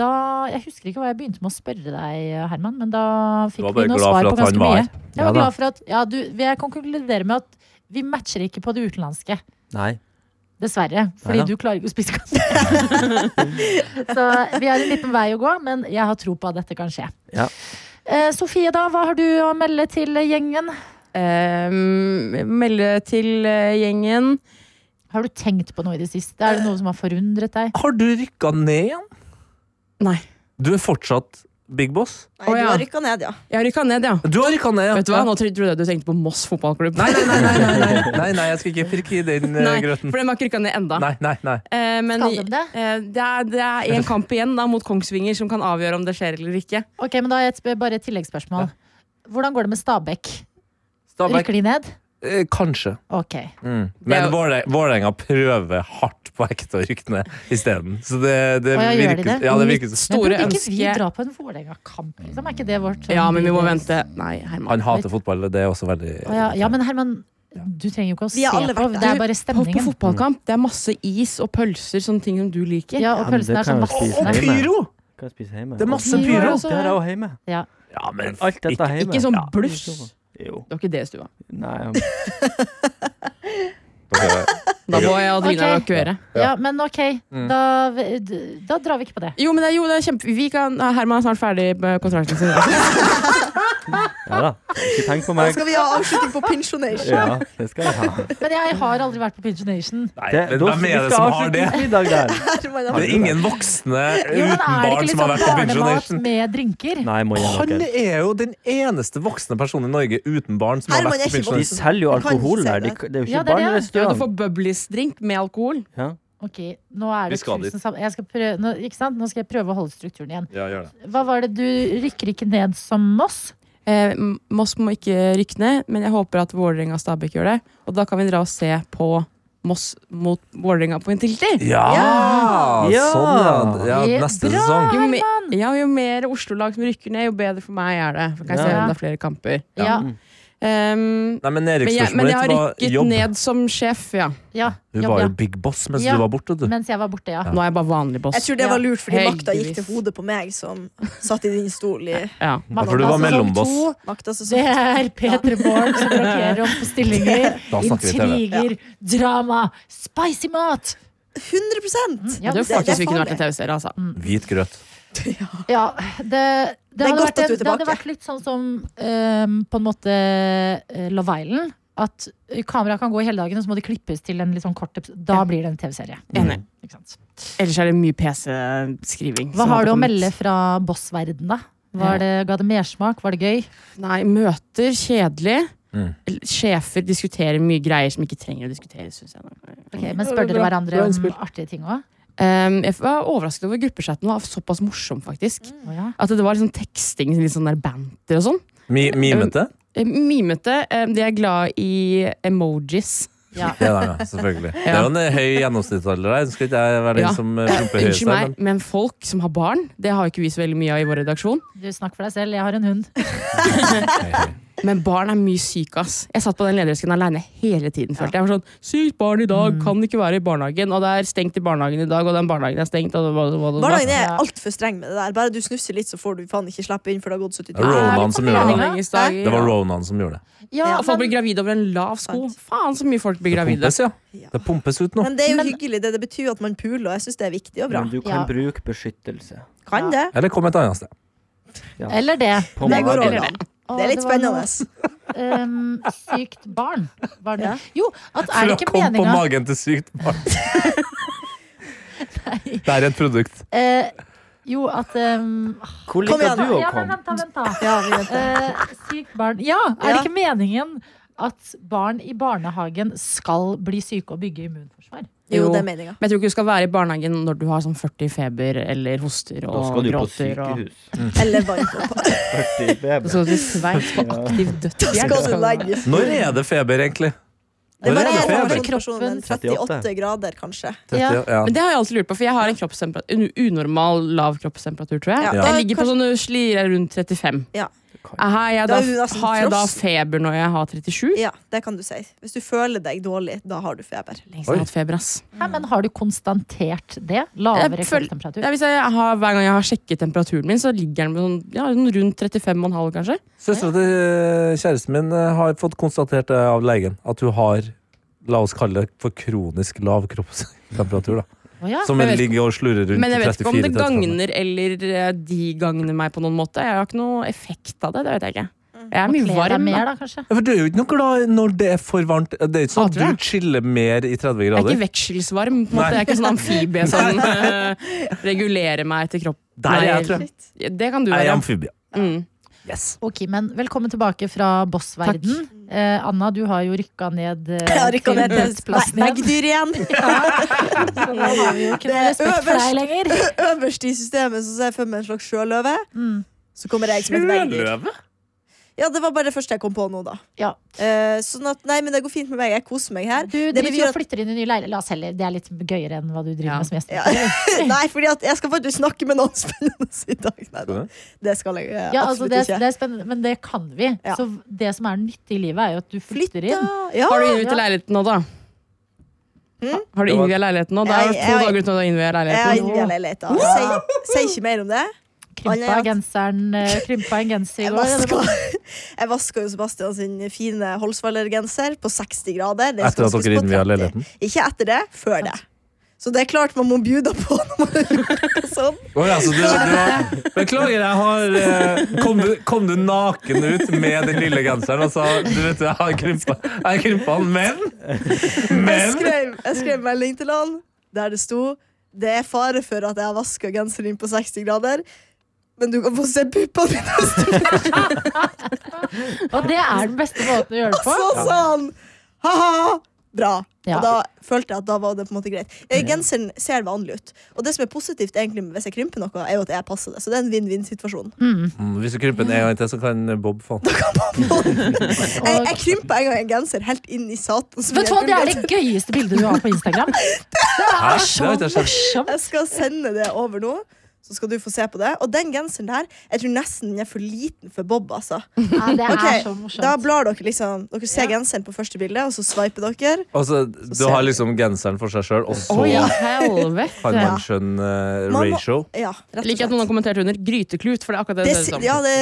Speaker 2: da Jeg husker ikke hva jeg begynte med å spørre deg, Herman, men da
Speaker 6: Du
Speaker 2: fikk
Speaker 6: var
Speaker 2: vi
Speaker 6: bare
Speaker 2: noe
Speaker 6: glad
Speaker 2: svar
Speaker 6: for
Speaker 2: på
Speaker 6: at han
Speaker 2: ganske
Speaker 6: var
Speaker 2: mye.
Speaker 6: her.
Speaker 2: Jeg
Speaker 5: Ja
Speaker 2: var
Speaker 5: da.
Speaker 2: glad for at ja, du, Jeg kan konkludere med at vi matcher ikke på det utenlandske.
Speaker 5: Nei.
Speaker 2: Dessverre. Fordi
Speaker 5: Neida.
Speaker 2: du klarer ikke å spise kaffe. Så vi har en liten vei å gå, men jeg har tro på at dette kan skje.
Speaker 5: Ja.
Speaker 2: Eh, Sofie, da, hva har du å melde til gjengen?
Speaker 4: Ehm, melde til eh, gjengen.
Speaker 2: Har du tenkt på noe i det siste? Er det noe som har forundret deg?
Speaker 6: Har du rykka ned igjen?
Speaker 4: Nei.
Speaker 6: Du er fortsatt big boss?
Speaker 3: Nei,
Speaker 4: Å,
Speaker 3: du
Speaker 4: ja.
Speaker 3: har rykka ned, ja.
Speaker 4: Jeg har rykka ned, ja.
Speaker 6: Du har rykka ned, ja.
Speaker 4: Vet du hva? Nå tro- trodde jeg du tenkte på Moss fotballklubb.
Speaker 6: Nei, nei, nei, nei, nei, nei, nei, nei jeg skal ikke pirke i den eh,
Speaker 4: Nei,
Speaker 6: grøten.
Speaker 4: for de har ikke rykka ned enda.
Speaker 6: Nei, nei, nei.
Speaker 4: Eh, men
Speaker 2: Skal de det?
Speaker 4: eh, det, er, det er en kamp igjen da, mot Kongsvinger som kan avgjøre om det skjer eller ikke.
Speaker 2: Ok, men da har jeg et, sp- bare et tilleggsspørsmål. Hvordan går det med Stabæk?
Speaker 6: Stabæk,
Speaker 2: Rykker de ned?
Speaker 6: eh, kanskje.
Speaker 2: Ok.
Speaker 6: Mm.
Speaker 4: Det er
Speaker 6: Men
Speaker 4: jo-
Speaker 6: Våle- Vålerenga prøver hardt på ekte å rykke ned isteden. Så det, det
Speaker 2: Å, ja, gjør de
Speaker 6: virker
Speaker 2: det?
Speaker 6: Ja, det virker
Speaker 2: Men
Speaker 4: Store
Speaker 2: burde ikke vi
Speaker 4: ønske-
Speaker 2: dra på en Vålerenga-kamp? Liksom? Er ikke det vårt sånn
Speaker 4: Ja, men vi må
Speaker 2: bidrag?
Speaker 4: vente. Nei, Herman.
Speaker 6: Han hater fotball, det er også veldig
Speaker 2: Å, ja. ja, men Herman, du trenger jo ikke å
Speaker 3: Vi
Speaker 2: se
Speaker 3: har
Speaker 2: på.
Speaker 3: alle vært der.
Speaker 2: Det er bare
Speaker 4: På, på
Speaker 2: stemningen.
Speaker 4: fotballkamp det er masse is og pølser, sånne ting som du liker.
Speaker 2: Ja, og
Speaker 5: Ja, men det
Speaker 2: pølsen er
Speaker 5: kan
Speaker 2: sånn
Speaker 5: jeg
Speaker 2: vassende.
Speaker 5: spise.
Speaker 6: Og pyro!
Speaker 5: Kan jeg spise hjemme?
Speaker 6: Det er masse
Speaker 2: Pyro
Speaker 6: pyro.
Speaker 2: er også-
Speaker 5: Det har jeg òg hjemme.
Speaker 6: Ja, men
Speaker 5: Alt dette hjemme.
Speaker 4: Ikke sånn
Speaker 6: Ja.
Speaker 4: bluss.
Speaker 5: Jo.
Speaker 4: Det var ikke det i stua.
Speaker 5: Nei.
Speaker 4: Da må jeg og Adelina
Speaker 2: Ok.
Speaker 4: evakuere.
Speaker 2: Ja, men ok,
Speaker 6: Mm.
Speaker 2: da, da drar vi ikke på det.
Speaker 4: Jo, men det er, jo, det er kjempe... Vi kan... Herman er snart ferdig med kontrakten sin.
Speaker 5: Ja da. Ikke tenk
Speaker 3: Da
Speaker 5: på meg.
Speaker 3: skal vi ha avslutning på pensjonation.
Speaker 5: Ja, det skal jeg ha.
Speaker 2: Men jeg har aldri vært på Pigeonation.
Speaker 6: Nei,
Speaker 5: Det,
Speaker 6: men hvem er det som har det?
Speaker 5: Middag der.
Speaker 3: Herman,
Speaker 6: Det
Speaker 3: Herman.
Speaker 6: er ingen voksne
Speaker 2: Jo, men er
Speaker 6: Eh, uten
Speaker 2: det
Speaker 6: barn
Speaker 2: ikke litt
Speaker 6: som
Speaker 2: sånn
Speaker 6: har vært på
Speaker 2: barnemat
Speaker 6: Pigeonation.
Speaker 2: med drinker?
Speaker 5: Nei, må gi
Speaker 6: Han
Speaker 5: dere.
Speaker 6: er jo den eneste voksne personen i Norge uten barn som har
Speaker 3: Herman
Speaker 6: vært
Speaker 3: er
Speaker 6: på
Speaker 3: ikke
Speaker 5: De
Speaker 6: Pigeonation.
Speaker 5: selger jo
Speaker 3: Jeg kan ikke
Speaker 5: alkohol
Speaker 3: se
Speaker 5: der. De,
Speaker 3: det.
Speaker 5: det
Speaker 2: Ja,
Speaker 5: er jo ikke
Speaker 2: det er det.
Speaker 4: Ja, du
Speaker 5: barnerestaurant.
Speaker 4: får Bubblies-drink med alkohol.
Speaker 5: Ja.
Speaker 2: Ok, nå er
Speaker 6: Vi
Speaker 2: det
Speaker 6: skal dit.
Speaker 2: tusen sam... Jeg skal prøve... nå, ikke sant? Nå skal jeg prøve å holde strukturen igjen.
Speaker 6: Ja, gjør det.
Speaker 2: Hva var det du rykker ikke ned som Moss?
Speaker 4: Eh, M- Moss må ikke rykke ned, men jeg håper at Vålerenga og Stabæk gjør det. Og da kan vi dra og se på Moss mot Vålerenga på Intility.
Speaker 6: Ja!
Speaker 5: Ja!
Speaker 6: Sånn, ja. ja
Speaker 2: Ja,
Speaker 6: neste
Speaker 2: bra!
Speaker 6: sesong.
Speaker 4: Jo, me ja, jo mer Oslo-lag som rykker ned, jo bedre for meg er det. For kan jeg
Speaker 5: Ja.
Speaker 4: se enda flere kamper.
Speaker 2: Ja.
Speaker 4: Ehm,
Speaker 6: Nei, men
Speaker 4: men, jeg, men
Speaker 6: Nedrykksspørsmålet
Speaker 4: jeg har
Speaker 6: ditt var
Speaker 4: rykket
Speaker 6: jobb.
Speaker 4: ned som sjef, ja.
Speaker 2: Ja,
Speaker 6: Du
Speaker 2: jobb,
Speaker 6: var
Speaker 2: ja.
Speaker 6: jo big boss mens
Speaker 2: Ja.
Speaker 6: du var borte, du.
Speaker 2: Mens jeg var borte, ja.
Speaker 4: Nå er jeg bare vanlig boss.
Speaker 3: Jeg tror det var lurt, fordi makta gikk
Speaker 4: Heldigvis.
Speaker 3: til hodet på meg, som satt i din stol i
Speaker 4: Ja.
Speaker 2: Mamma,
Speaker 6: for du
Speaker 2: da
Speaker 6: var
Speaker 2: sesong
Speaker 6: mellomboss.
Speaker 2: altså, to,
Speaker 3: makta. Så
Speaker 2: Det er Peter Borg som rokerer opp på stillinger.
Speaker 6: Da snakker vi TV.
Speaker 2: Intriger, drama, spicy mat!
Speaker 3: 100
Speaker 2: Ja,
Speaker 4: det er jo faktisk vi kunne vært
Speaker 3: farlig.
Speaker 4: en TV-serie, altså.
Speaker 6: Hvit grøt.
Speaker 2: Ja, det, det,
Speaker 3: er
Speaker 2: hadde
Speaker 3: godt
Speaker 2: vært,
Speaker 3: at du er
Speaker 2: det hadde
Speaker 3: tilbake.
Speaker 2: ehm, vært litt sånn som eh, på en måte eh, Love Island. at kameraet kan gå hele dagen, og så må det klippes til en litt sånn kort episode. Da
Speaker 4: Ja.
Speaker 2: blir det en TV-serie. Mm.
Speaker 4: Enig.
Speaker 2: Ikke sant?
Speaker 4: Ellers er det mye PC-skriving.
Speaker 2: Hva har du å melde fra bossverdenen, da? Var det, ga det mersmak? Var det gøy?
Speaker 4: Nei, møter kjedelig.
Speaker 6: Mm.
Speaker 4: L- Sjefer diskuterer mye greier som ikke trenger å diskuteres, syns jeg.
Speaker 2: Ok,
Speaker 3: Mm.
Speaker 2: men
Speaker 6: Ja, det
Speaker 2: spør
Speaker 6: er
Speaker 2: dere
Speaker 6: bra.
Speaker 2: hverandre
Speaker 6: Bra
Speaker 2: om
Speaker 6: innspill.
Speaker 2: artige ting òg?
Speaker 4: Um, jeg var overrasket over at gruppechatten var såpass morsom, faktisk.
Speaker 2: ja.
Speaker 4: At det var liksom teksting, litt sånn der banter og sånn.
Speaker 6: Mi, mimete?
Speaker 4: Eh, Mimete. eh, De er glad i emojis.
Speaker 2: ja.
Speaker 6: Det er det, selvfølgelig. Det er jo en eh, høy gjennomsnittsalder der. Skal ikke jeg være den
Speaker 4: Ja.
Speaker 6: som eh, promper høyest
Speaker 4: Unnskyld
Speaker 6: der?
Speaker 4: meg, men folk som har barn, det har ikke vi så veldig mye av i vår redaksjon.
Speaker 2: Du snakker for deg selv, jeg har en hund.
Speaker 6: men- Hei, hei.
Speaker 4: Men barn er mye syke, ass. Jeg satt på den lederesken alene hele tiden. følte jeg. jeg var sånn, Sykt barn i dag,
Speaker 3: Mm.
Speaker 4: kan ikke være i barnehagen. Og det er stengt i barnehagen i dag, og den barnehagen er stengt. Og bla, bla, bla, bla.
Speaker 3: Barnehagen
Speaker 2: Ja.
Speaker 3: er altfor streng med det der. Bare du snusser litt, så får du faen ikke slippe inn, for det har gått 70
Speaker 6: Det er
Speaker 3: timer.
Speaker 6: Ronan som gjorde det.
Speaker 4: Forleningsdager,
Speaker 6: Det var
Speaker 4: ja.
Speaker 6: Ronan som gjorde det.
Speaker 2: Ja,
Speaker 4: Ja, folk blir
Speaker 2: men,
Speaker 4: gravide over en lav sko.
Speaker 3: Sant.
Speaker 4: Faen så mye folk blir
Speaker 6: Det
Speaker 4: gravide.
Speaker 6: pumpes, ja.
Speaker 3: Ja.
Speaker 6: Det pumpes ut nå.
Speaker 3: Men det er jo
Speaker 2: Men-
Speaker 3: hyggelig. Det, det betyr jo at man puler, og jeg syns det er viktig og bra.
Speaker 5: Men du kan
Speaker 2: Ja.
Speaker 5: bruke beskyttelse.
Speaker 3: Kan det.
Speaker 6: Eller kom et annet sted.
Speaker 5: Ja.
Speaker 2: eller det.
Speaker 5: På
Speaker 3: Det går
Speaker 5: magen.
Speaker 3: over. an.
Speaker 2: Å,
Speaker 3: Det er litt
Speaker 2: var noe,
Speaker 3: spennende. altså.
Speaker 2: ehm, sykt barn. Var det.
Speaker 3: Ja.
Speaker 2: Jo, at er
Speaker 6: Fra
Speaker 2: det ikke
Speaker 6: kom på
Speaker 2: meninga
Speaker 6: magen til sykt barn. Det er et produkt.
Speaker 2: Eh, Jo, at ehm,
Speaker 5: Hvor
Speaker 3: Kom
Speaker 5: liker
Speaker 3: igjen,
Speaker 5: du å
Speaker 2: Ja, men
Speaker 5: komme?
Speaker 2: vent, da. Vent, da.
Speaker 3: Ja, vi vet det.
Speaker 2: Eh, sykt barn. Ja, er det
Speaker 3: Ja.
Speaker 2: ikke meningen at barn i barnehagen skal bli syke og bygge immunforsvar?
Speaker 3: Jo,
Speaker 4: Jo.
Speaker 3: det er meninga.
Speaker 4: Men jeg tror ikke du skal være i barnehagen når du har sånn 40 feber eller hoster
Speaker 5: Da skal
Speaker 4: og
Speaker 5: du på
Speaker 4: gråter. Og...
Speaker 5: sykehus.
Speaker 3: Eller varmt opp.
Speaker 5: 40
Speaker 4: Da
Speaker 5: feber.
Speaker 4: skal du til Sveits på aktiv dødshjelp.
Speaker 3: Skal du legge
Speaker 6: Når er det feber, egentlig?
Speaker 3: Det
Speaker 6: Når er
Speaker 3: varierer
Speaker 6: det
Speaker 3: fra
Speaker 6: feber?
Speaker 3: person til person, men 38 grader, kanskje.
Speaker 6: 30, ja.
Speaker 4: Men det har jeg alltid lurt på, for jeg har en, kroppstemperatur- en unormal lav kroppstemperatur, tror jeg.
Speaker 3: Ja,
Speaker 4: Jeg
Speaker 3: da
Speaker 4: ligger på
Speaker 3: kanskje-
Speaker 4: sånne slirer rundt 35.
Speaker 3: Ja.
Speaker 4: Har jeg da,
Speaker 3: Da er du nesten
Speaker 4: har jeg da
Speaker 3: frossen.
Speaker 4: feber når jeg har 37?
Speaker 3: Ja, det kan du si. Hvis du føler deg dårlig, da har du feber.
Speaker 4: Lengst jeg har hatt feber, ass.
Speaker 2: Hæ, men har du konstatert det? Lavere
Speaker 4: Jeg føl-
Speaker 2: kroppstemperatur?
Speaker 4: Ja, hvis jeg har, hver gang jeg har sjekket temperaturen min, så ligger den på sånn, ja, sånn rundt 35,5, kanskje.
Speaker 6: Søstera til eh, kjæresten min eh, har fått konstatert det av legen at hun har La oss kalle det for kronisk lav kroppstemperatur, da.
Speaker 2: Å ja.
Speaker 6: Som
Speaker 4: jeg vet
Speaker 6: ligger og slurrer rundt
Speaker 4: Men jeg vet ikke om det
Speaker 6: 34-35.
Speaker 4: gagner eller eh, de gagner meg på noen måte. Jeg har ikke noe effekt av det. det vet jeg ikke.
Speaker 3: Mm.
Speaker 4: Jeg er mye
Speaker 2: Kle deg
Speaker 4: varm.
Speaker 2: mer,
Speaker 4: da.
Speaker 2: da, kanskje?
Speaker 6: Ja, for Du er jo ikke noe glad når det er for varmt. Det er ikke sånn at
Speaker 4: Hater det.
Speaker 6: du chiller mer i 30
Speaker 4: Jeg er
Speaker 6: grader.
Speaker 4: ikke vekselsvarm. på en måte. Jeg er ikke sånn amfibie som eh, regulerer meg til kropp.
Speaker 6: Der er jeg, tror jeg.
Speaker 4: Nei, Det kan du
Speaker 6: Jeg er
Speaker 4: være.
Speaker 6: amfibie.
Speaker 4: Mm.
Speaker 6: Yes.
Speaker 2: Ok, men Velkommen tilbake fra bossverden. Eh, Anna, du har jo rykka ned eh,
Speaker 3: Jeg har rykka
Speaker 2: til
Speaker 3: ned til
Speaker 2: budsplassen
Speaker 3: Nei,
Speaker 2: igjen.
Speaker 3: veggdyr igjen.
Speaker 2: Så nå har vi jo ikke
Speaker 3: Det
Speaker 2: noe
Speaker 3: er
Speaker 2: respekt for deg
Speaker 3: øverst.
Speaker 2: lenger.
Speaker 3: Øverst i systemet så ser jeg for meg en slags sjøløve.
Speaker 2: Mm.
Speaker 3: Så kommer jeg som et veggdyr. Ja, det var bare det første jeg kom på nå, da.
Speaker 2: Ja.
Speaker 3: Eh, sånn at, nei, men det går fint med meg. Jeg koser meg her.
Speaker 2: Du
Speaker 3: Det
Speaker 2: driver
Speaker 3: betyr
Speaker 2: jo og
Speaker 3: at-
Speaker 2: flytter inn i ny leilighet. La oss heller, det er litt gøyere enn hva du driver
Speaker 4: Ja.
Speaker 2: med som gjest.
Speaker 3: Ja. Nei, fordi at jeg skal faktisk snakke med noen spennende i dag. Nei, da. Det skal jeg eh,
Speaker 2: Ja, altså
Speaker 3: absolutt
Speaker 2: det,
Speaker 3: ikke.
Speaker 2: det er spennende, men det kan vi.
Speaker 3: Ja.
Speaker 2: Så det som er nyttig i livet, er jo at du flytter inn.
Speaker 3: Ja.
Speaker 4: Har du innviet
Speaker 2: Ja.
Speaker 4: leiligheten nå, da?
Speaker 3: Mm?
Speaker 4: Har du
Speaker 5: Det var-
Speaker 4: innviet leiligheten nå? Det
Speaker 3: Jeg-
Speaker 4: er to
Speaker 3: jeg-
Speaker 4: dager uten å innvie
Speaker 3: Jeg har
Speaker 4: leiligheten.
Speaker 3: innviet leiligheten. Si, si ikke mer om det.
Speaker 2: Krympa
Speaker 3: Alle-
Speaker 2: genseren eh, Krympa en genser i
Speaker 3: Jeg
Speaker 2: går. Det
Speaker 3: vaska,
Speaker 2: var-
Speaker 3: jeg vaska jo Sebastian sin fine Holsvaller-genser på 60 grader. Den
Speaker 6: Etter
Speaker 3: skal
Speaker 6: at
Speaker 3: huskes
Speaker 6: dere
Speaker 3: på
Speaker 6: innvia
Speaker 3: 30.
Speaker 6: leiligheten.
Speaker 3: Ikke etter det, før det. Så det er klart man må bjuda på når man har gjort sånn. noe sånt.
Speaker 6: Å ja, så altså, du, du har, beklager, jeg har eh, kom, du, kom du naken ut med den lille genseren og sa Du vet, jeg har krympa, jeg har krympa den, men
Speaker 3: Jeg
Speaker 6: Men
Speaker 3: skrev, jeg skrev melding til han der det sto Det er fare for at jeg har vaska genseren din på 60 grader. Men du kan få se puppene mine!
Speaker 2: Og det er den beste måten å gjøre det på.
Speaker 3: Så sa han ha-ha! Bra.
Speaker 2: Ja.
Speaker 3: Og da følte jeg at da var det på en måte greit. Eh, Genseren ser vanlig ut. Og det som er positivt egentlig hvis jeg krymper noe, er jo at jeg passer det. Så det er en vinn-vinn-situasjon.
Speaker 6: Mm, Hvis du krymper den en gang til, så kan Bob få den.
Speaker 3: Jeg, jeg krympa en gang en genser helt inn i satans
Speaker 2: Vet du hva, Det er det gøyeste bildet du har på Instagram.
Speaker 6: Hæ? Det
Speaker 2: Så
Speaker 6: har ikke jeg sett.
Speaker 2: morsomt!
Speaker 3: Jeg skal sende det over nå. Så skal du få se på det. Og den genseren der, jeg tror nesten den er for liten for Bob. altså.
Speaker 2: Ja, det er
Speaker 3: Ok,
Speaker 2: så
Speaker 3: Da
Speaker 2: morsomt.
Speaker 3: blar dere liksom, dere ser genseren på første bilde, og så sveiper dere.
Speaker 6: Og så, Altså, du har liksom genseren for seg sjøl, og
Speaker 4: Oi,
Speaker 6: så kan
Speaker 4: helvete.
Speaker 6: man skjønne eh,
Speaker 3: Man må-
Speaker 6: ratio.
Speaker 3: Ja, rett og
Speaker 4: Liker at
Speaker 3: slett.
Speaker 4: noen har kommentert under 'gryteklut', for det er akkurat det
Speaker 3: Det,
Speaker 4: det ser
Speaker 3: si-
Speaker 4: ut som.
Speaker 3: ja, det,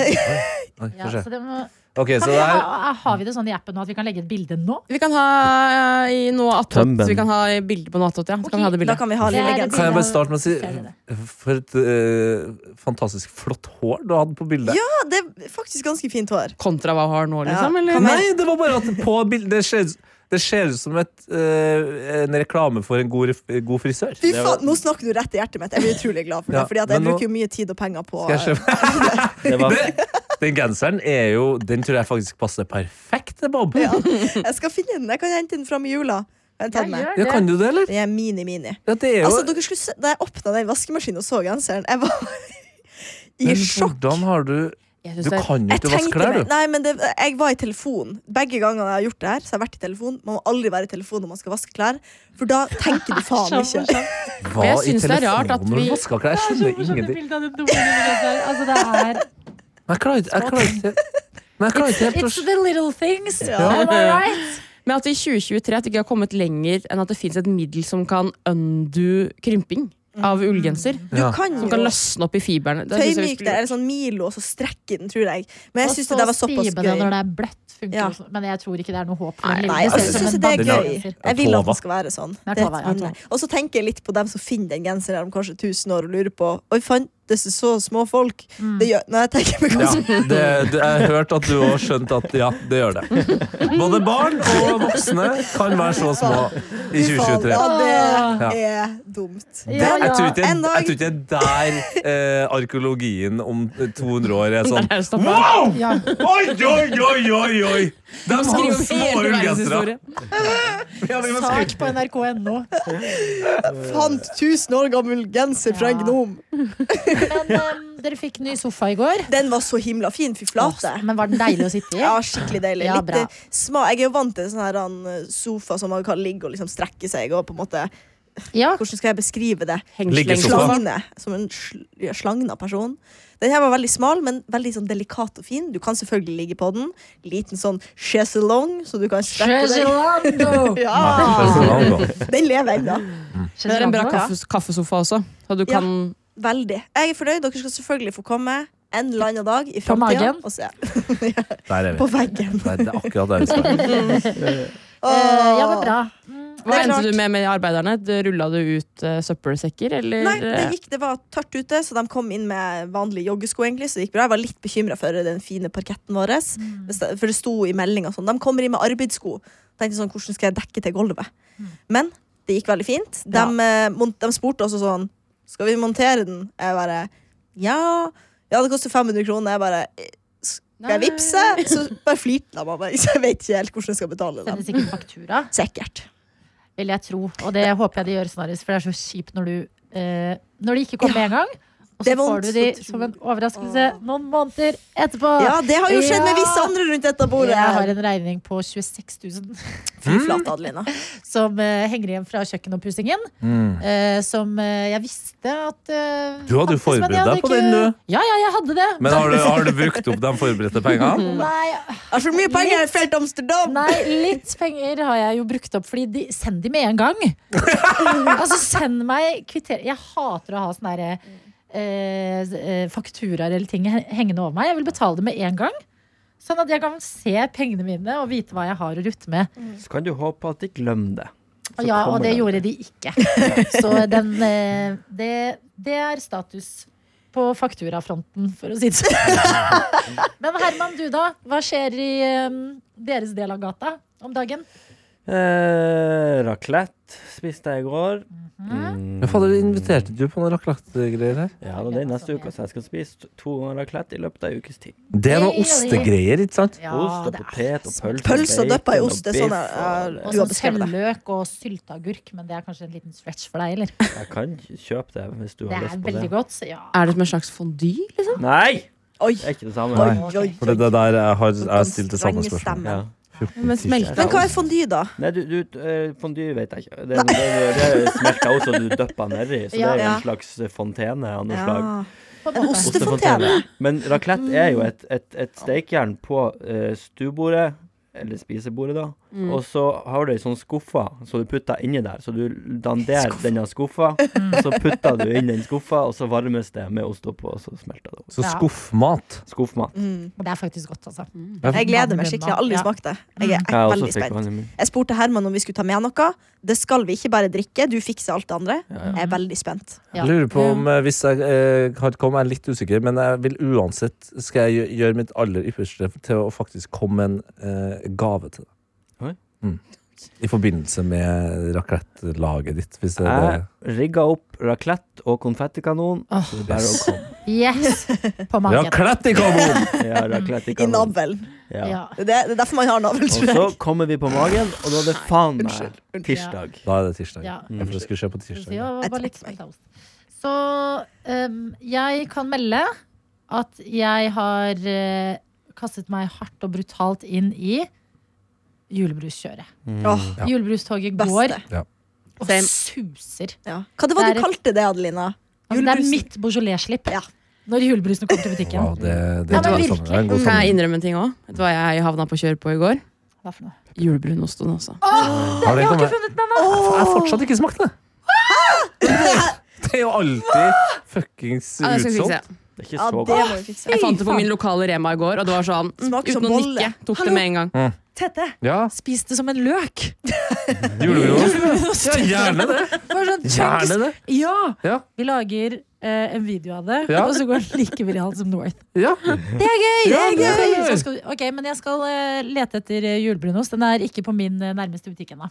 Speaker 6: Oi,
Speaker 2: Ja,
Speaker 6: får se.
Speaker 2: så det må,
Speaker 6: Ok, så
Speaker 2: Kan vi,
Speaker 6: det er
Speaker 2: ha, har vi det sånn i appen nå at vi kan legge et bilde nå?
Speaker 4: Vi kan ha eh, i noe attåt.
Speaker 5: Tømben.
Speaker 4: Vi kan ha bilde på noe attåt, ja.
Speaker 2: Ok,
Speaker 4: Så kan vi ha det
Speaker 3: Da
Speaker 4: bildet.
Speaker 3: kan vi ha
Speaker 2: Det er
Speaker 3: lille
Speaker 2: det
Speaker 6: Kan
Speaker 3: genser.
Speaker 6: jeg bare starte med å si
Speaker 2: Ser dere
Speaker 6: For et eh, fantastisk flott hår du hadde på bildet.
Speaker 3: Ja, det er faktisk ganske fint hår.
Speaker 4: Kontra hva hun har nå,
Speaker 3: Ja.
Speaker 4: liksom?
Speaker 3: Kan
Speaker 4: Eller?
Speaker 3: jeg-
Speaker 6: Nei, det var bare at på bildet Det ser, det ser ut som et, eh, en reklame for en god, ref- god frisør.
Speaker 3: Fy
Speaker 5: Det var-
Speaker 3: faen, Nå snakker du rett i hjertet mitt. Jeg blir utrolig glad for det.
Speaker 6: Ja,
Speaker 3: Fordi at jeg
Speaker 6: men nå-
Speaker 3: bruker jo mye tid og penger på
Speaker 6: Skal jeg kjøpe
Speaker 5: Det var,
Speaker 6: Den genseren er jo Den tror jeg faktisk passer perfekt til Bob.
Speaker 3: Ja,
Speaker 6: Ja,
Speaker 3: Jeg skal finne den. Jeg kan hente den fram i jula. Kan Jeg ta den med.
Speaker 6: kan du det, eller?
Speaker 3: Den er mini-mini.
Speaker 6: Ja, det er jo
Speaker 3: Altså, dere skulle se, Da jeg åpna den vaskemaskinen og så genseren, jeg var i
Speaker 6: Men
Speaker 3: sjokk.
Speaker 6: Hvordan har du
Speaker 4: Jeg
Speaker 6: Du
Speaker 4: synes det er-
Speaker 6: kan jo
Speaker 3: Jeg
Speaker 6: ikke vaske
Speaker 3: tenkte meg-
Speaker 6: klær, du.
Speaker 3: Nei, men det, jeg var i telefonen. Begge gangene jeg har gjort det her, så har jeg vært i telefonen. Man må aldri være i telefonen når man skal vaske klær, for da tenker du faen ikke.
Speaker 6: Hva
Speaker 4: jeg
Speaker 6: i
Speaker 4: synes det er rart at
Speaker 6: telefonen når
Speaker 4: vi-
Speaker 6: du vasker klær? Jeg skjønner ingenting.
Speaker 2: Altså, det er
Speaker 6: Men jeg klarer ikke jeg klarer ikke- Men jeg klarer ikke helt å
Speaker 2: It's the little things.
Speaker 6: Ja.
Speaker 2: Am I right?
Speaker 4: Men at vi i 2023 at vi ikke har kommet lenger enn at det fins et middel som kan undo krymping av ullgenser.
Speaker 3: Du
Speaker 6: Ja.
Speaker 3: kan
Speaker 4: Som kan
Speaker 3: Mm. jo
Speaker 4: løsne opp i fiberne. Det synes jeg vi
Speaker 3: tøymyke det,
Speaker 4: skulle-
Speaker 3: eller sånn Milo, og så strekke den, tror jeg. Men jeg
Speaker 2: Og
Speaker 3: syns
Speaker 2: så
Speaker 3: det der var såpass
Speaker 2: stibe det
Speaker 3: gøy.
Speaker 2: når det er bløtt. funker
Speaker 3: Ja.
Speaker 2: også. Men jeg tror ikke det er noe håp. for
Speaker 4: Nei,
Speaker 2: den lille.
Speaker 3: Nei,
Speaker 2: Det ser
Speaker 3: altså,
Speaker 2: ut
Speaker 3: jeg
Speaker 2: som
Speaker 3: syns
Speaker 2: en
Speaker 3: det er
Speaker 6: Den er-
Speaker 3: gøy.
Speaker 2: banditgenser.
Speaker 3: Jeg vil at
Speaker 6: tova.
Speaker 3: den skal være sånn.
Speaker 2: Den er
Speaker 3: Det-
Speaker 2: tova, ja.
Speaker 3: Mm. Og så tenker jeg litt på dem som finner den genseren om kanskje 1000 år og lurer på Oi, fantes det så små folk? Det gjør, når jeg tenker meg
Speaker 6: ja,
Speaker 3: ganske
Speaker 6: det, det, Jeg hørte at du òg skjønte at ja, det gjør det. Både barn og voksne kan være så små i
Speaker 3: Fy faen,
Speaker 6: 2023.
Speaker 3: Ja, det er dumt.
Speaker 6: Det, jeg, tror ikke,
Speaker 3: En dag.
Speaker 6: jeg tror ikke det er der eh, arkeologien om 200 år er sånn
Speaker 4: Der er det stoppet.
Speaker 6: Wow!
Speaker 2: Ja.
Speaker 6: Oi, oi, oi, oi! oi. De har
Speaker 4: Skriv
Speaker 6: små
Speaker 4: hele
Speaker 6: ullgensere!
Speaker 4: verdenshistorie.
Speaker 6: Ja, vi må skrive.
Speaker 2: Sak på nrk.no.
Speaker 3: Fant 1000 år gammel genser fra en
Speaker 2: Ja.
Speaker 3: gnom.
Speaker 2: Men em, dere fikk ny sofa i går.
Speaker 3: Den var så himla fin. Fy flate.
Speaker 2: Men var den deilig å sitte i?
Speaker 3: Ja, skikkelig deilig.
Speaker 2: Ja,
Speaker 3: Litt
Speaker 2: bra.
Speaker 3: eh, sma. Jeg er jo vant til sånn her han, sofa som man kan ligge og liksom strekke seg og på en måte
Speaker 2: Ja.
Speaker 3: Hvordan skal jeg beskrive det?
Speaker 6: Liggesofa.
Speaker 4: Sleng-
Speaker 3: Slagne. Som en sl ja, slagna person. Den her var veldig smal, men veldig sånn delikat og fin. Du kan selvfølgelig ligge på den. Liten sånn chaiselong, så du kan strekke deg.
Speaker 2: Chesilando!
Speaker 3: Ja,
Speaker 6: sånn,
Speaker 3: den lever ennå.
Speaker 4: Men Det er en bra kaffes kaffesofa også. Så du
Speaker 3: Ja.
Speaker 4: kan
Speaker 3: Veldig. Jeg er fornøyd. Dere skal selvfølgelig få komme en eller annen dag i
Speaker 2: På
Speaker 3: framtida
Speaker 2: magen?
Speaker 3: og se.
Speaker 6: Der er vi.
Speaker 3: På veggen.
Speaker 6: Nei, det er akkurat der vi skal. være.
Speaker 2: Eh, ja, men bra.
Speaker 4: Hva
Speaker 3: Det er
Speaker 4: endte
Speaker 3: klart.
Speaker 4: du med med arbeiderne? Du- Rulla du ut eh, søppelsekker, eller? eh,
Speaker 3: Nei, det
Speaker 2: eh,
Speaker 3: gikk, det var tørt ute, så de kom inn med vanlige joggesko. egentlig, så det gikk bra. Jeg var litt bekymra for den fine parketten vår,
Speaker 2: Mm.
Speaker 3: hvis det- for det sto i meldinga sånn. De kommer inn med arbeidssko. tenkte sånn, hvordan skal jeg dekke til gulvet? Men det gikk veldig fint. De,
Speaker 2: Mm. Ja.
Speaker 3: eh, mon- de spurte også sånn Skal vi montere den? Jeg bare Ja. Ja, det koster 500 kroner. Jeg bare eh, Skal jeg
Speaker 4: Nei.
Speaker 3: vippse? Så bare flirte de av meg. Så jeg vet ikke helt hvordan jeg skal betale dem.
Speaker 2: Sendes ikke faktura,
Speaker 3: Sikkert.
Speaker 2: vil jeg tro. Og det håper jeg de gjør snarest, for det er så kjipt når du eh, Når de ikke kommer med en gang, og
Speaker 3: Det
Speaker 2: så
Speaker 3: er vondt,
Speaker 2: får du de
Speaker 3: så tror-
Speaker 2: som en overraskelse noen måneder etterpå.
Speaker 3: Ja, det har jo skjedd
Speaker 2: Ja.
Speaker 3: med visse andre rundt dette bordet.
Speaker 2: Jeg har en regning på 26 000
Speaker 3: Fy flate, Adelina.
Speaker 2: som eh, henger igjen fra kjøkkenopppussingen.
Speaker 6: Mm.
Speaker 2: eh, som eh, jeg visste at eh,
Speaker 6: Du hadde jo
Speaker 2: fantes, men jeg
Speaker 6: forberedt
Speaker 2: hadde
Speaker 6: deg på
Speaker 2: ikke-
Speaker 6: den, du.
Speaker 2: Ja, ja, jeg hadde det. Mm.
Speaker 6: Men har du, har du brukt opp de forberedte pengene?
Speaker 2: Nei,
Speaker 3: Jeg har for mye penger, jeg er fra Amsterdam!
Speaker 2: Nei, litt penger har jeg jo brukt opp, fordi de, send de med en gang. altså, send meg kvitter... Jeg hater å ha sånne derre eh, eh, fakturaer eller ting he- hengende over meg. Jeg vil betale det med en gang. Sånn at jeg kan se pengene mine og vite hva jeg har å rutte med.
Speaker 5: så kan du håpe at de glemmer det. Så
Speaker 2: ja,
Speaker 5: kommer
Speaker 2: Og det
Speaker 5: den.
Speaker 2: gjorde de ikke. Så den, eh, det, det er status på fakturafronten, for å si det sånn. Men Herman, du da? Hva skjer i eh, deres del av gata om dagen?
Speaker 5: Eh, raclette spiste jeg i går.
Speaker 3: Mhm.
Speaker 5: Mm.
Speaker 6: Ja, fader, inviterte du på noen raclette-greier her?
Speaker 5: Ja, og det er neste uke, så jeg skal spise to ganger raclette i løpet av ei ukes tid.
Speaker 6: Det er noen ostegreier, ikke sant?
Speaker 2: Ja,
Speaker 5: Ost og
Speaker 2: det er
Speaker 5: potet og pølse.
Speaker 3: Pølse og døppa i
Speaker 5: bacon
Speaker 3: ost, det er sånn jeg-
Speaker 5: biff og-
Speaker 2: Og
Speaker 3: Du har
Speaker 2: sånn
Speaker 3: beskrevet det.
Speaker 2: sølvløk og sylteagurk, men det er kanskje en liten stretch for deg, eller?
Speaker 5: Jeg kan kjøpe det hvis du
Speaker 2: Det
Speaker 5: har
Speaker 2: er
Speaker 5: lyst på
Speaker 2: veldig
Speaker 5: det.
Speaker 2: godt, så ja.
Speaker 4: Er det som en slags fondy? Liksom?
Speaker 5: Nei!
Speaker 3: Oi,
Speaker 5: Det er ikke det samme.
Speaker 3: oi,
Speaker 5: Nei.
Speaker 3: oi, oi.
Speaker 6: For det det der jeg har jeg har stilt det samme
Speaker 3: Strenge
Speaker 6: spørsmålet.
Speaker 3: stemmen.
Speaker 5: Ja.
Speaker 4: Men smelter
Speaker 3: Men hva er fondy, da?
Speaker 5: Nei, du, du eh, Fondue vet jeg ikke. Det, er- det, er- det, er smelter også, du døpper nedi. Så det
Speaker 2: Ja.
Speaker 5: er jo
Speaker 3: Ja.
Speaker 5: en slags eh, fontene av noe slag.
Speaker 3: Ja.
Speaker 2: På en
Speaker 3: En
Speaker 2: måte.
Speaker 3: ostefontene. Mm.
Speaker 5: Men raclette er jo et, et, et steikjern på eh, stuebordet, eller spisebordet, da.
Speaker 3: Mm.
Speaker 5: og så har du ei sånn skuffe så du putter inni der. Så du danderer denne skuffa,
Speaker 3: Mm.
Speaker 5: og så putter du inn den skuffa, og så varmes det med ost oppå, og så smelter det opp.
Speaker 6: Så
Speaker 2: Ja.
Speaker 6: skuffmat.
Speaker 5: Skuffmat.
Speaker 3: Mm.
Speaker 2: Det er faktisk godt, altså.
Speaker 3: Jeg gleder meg
Speaker 2: Vann i
Speaker 3: skikkelig. Jeg
Speaker 2: munnen,
Speaker 3: har aldri
Speaker 2: ja.
Speaker 3: smakt det. Jeg er
Speaker 5: Jeg også
Speaker 3: veldig
Speaker 5: fikk
Speaker 3: spent.
Speaker 5: vann i munnen.
Speaker 3: Jeg spurte Herman om vi skulle ta med noe. Det skal vi ikke bare drikke. Du fikser alt det andre. Jeg er veldig spent.
Speaker 2: Ja.
Speaker 6: Jeg lurer på om eh, hvis jeg eh, har kommet, jeg er litt usikker, men jeg vil uansett skal jeg gjø- gjøre mitt aller ypperste til å faktisk komme med en eh, gave til
Speaker 5: Oi.
Speaker 6: deg. Mm. I forbindelse med raclette-laget ditt, hvis det er det.
Speaker 5: Jeg rigga opp raclette og konfettikanon. Så det er bare å komme.
Speaker 2: Yes! På magen.
Speaker 6: Raclette i kanon!
Speaker 5: Ja, raclette i
Speaker 3: I
Speaker 5: kanon.
Speaker 3: navlen.
Speaker 5: Ja.
Speaker 2: Ja.
Speaker 3: Det, det er derfor man har navl,
Speaker 5: Og
Speaker 3: tror
Speaker 5: så
Speaker 3: jeg.
Speaker 5: kommer vi på magen, og da er det faen meg tirsdag.
Speaker 6: Da er det tirsdag.
Speaker 2: Ja.
Speaker 6: Ja, for det skulle skje på
Speaker 2: Så
Speaker 6: tirsdag.
Speaker 2: jeg var
Speaker 3: Jeg
Speaker 2: bare litt
Speaker 3: trekker meg.
Speaker 2: smelteost. Så ehm, jeg kan melde at jeg har eh, kastet meg hardt og brutalt inn i julebruskjøret.
Speaker 3: Åh,
Speaker 6: Ja. Mm.
Speaker 2: Julebrustoget går
Speaker 3: beste.
Speaker 2: og
Speaker 4: Same.
Speaker 2: suser.
Speaker 3: Ja. Hva det var
Speaker 2: Det er
Speaker 3: du
Speaker 2: et-
Speaker 3: kalte det, Adelina?
Speaker 2: Altså, det er
Speaker 3: Julebrusen.
Speaker 2: mitt Beaujolais-slipp
Speaker 3: Ja.
Speaker 2: når julebrusen kommer til butikken.
Speaker 6: Wow, det, det,
Speaker 2: Ja,
Speaker 6: er
Speaker 2: men
Speaker 6: en god sammenheng. Det er en
Speaker 4: Kan
Speaker 6: god
Speaker 4: jeg
Speaker 6: sammenheng.
Speaker 4: innrømme en ting òg? Vet du hva jeg havna på kjør på i går?
Speaker 2: Hva for noe?
Speaker 4: Julebrunosten også.
Speaker 6: Har det
Speaker 2: Jeg har
Speaker 6: kommet-
Speaker 2: ikke funnet den ennå!
Speaker 6: Jeg har fortsatt ikke smakt det. Det er jo alltid fuckings
Speaker 4: Ja, det skal vi fikse.
Speaker 6: utsolgt.
Speaker 5: Det er ikke
Speaker 3: Ja,
Speaker 5: så
Speaker 3: det
Speaker 5: godt.
Speaker 3: må vi fikse.
Speaker 4: Jeg fant det på min lokale Rema i går, og det var sånn mm,
Speaker 3: Smaker som
Speaker 4: Uten å
Speaker 3: bolle.
Speaker 4: nikke. Tok det med en gang.
Speaker 2: Tete,
Speaker 6: Ja,
Speaker 2: spis det som en løk!
Speaker 6: julebrunost. Ja, gjerne det.
Speaker 2: Bare sånn
Speaker 6: Gjerne det.
Speaker 2: Ja!
Speaker 6: Ja.
Speaker 2: Vi lager eh, en video av det,
Speaker 6: Ja.
Speaker 2: og så går den like viralt som North.
Speaker 6: Ja.
Speaker 2: Det er gøy!
Speaker 6: Ja, det er gøy!
Speaker 2: Så skal du- Ok, Men jeg skal eh, lete etter eh, julebrunost. Den er ikke på min eh, nærmeste butikk ennå.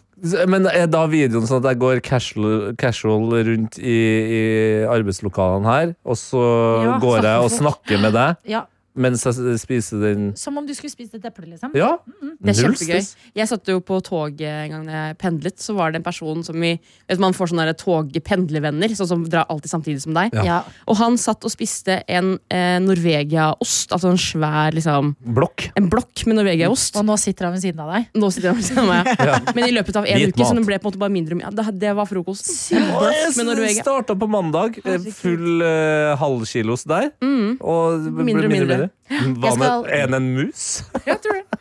Speaker 6: Men er da videoen sånn at jeg går casual, casual rundt i, i arbeidslokalene her, og så
Speaker 2: Ja,
Speaker 6: går jeg og
Speaker 2: snakker folk.
Speaker 6: snakker med deg
Speaker 2: Ja,
Speaker 6: mens jeg s- spiser den
Speaker 2: som om du skulle spist et eple, liksom.
Speaker 6: Ja!
Speaker 4: Det er
Speaker 6: null
Speaker 4: kjempegøy.
Speaker 6: stress.
Speaker 4: Jeg satt jo på toget en gang da jeg pendlet. Så var det en person som vi vet, Man får sånne der togpendlervenner sånn som drar alltid samtidig som deg.
Speaker 6: Ja.
Speaker 2: Ja.
Speaker 4: Og han satt og spiste en eh, Norvegia-ost. Altså en svær liksom
Speaker 6: Blokk.
Speaker 4: En blokk med Norvegia-ost.
Speaker 2: Og nå sitter han ved siden av deg.
Speaker 4: Nå sitter jeg ved siden av meg.
Speaker 6: Ja.
Speaker 4: Men i løpet av en
Speaker 6: Hvit
Speaker 4: uke så
Speaker 6: mat.
Speaker 4: den ble på en måte bare mindre. og min- Ja, det, det var frokosten. En
Speaker 6: Og
Speaker 4: blokk med
Speaker 6: jeg
Speaker 4: Norvegia.
Speaker 6: starta på mandag, eh, full eh, halvkilos der,
Speaker 4: Mm.
Speaker 6: og det ble
Speaker 4: Mindre og
Speaker 6: mindre og mindre.
Speaker 4: mindre.
Speaker 6: Hva
Speaker 2: Jeg skal-
Speaker 6: med en en mus?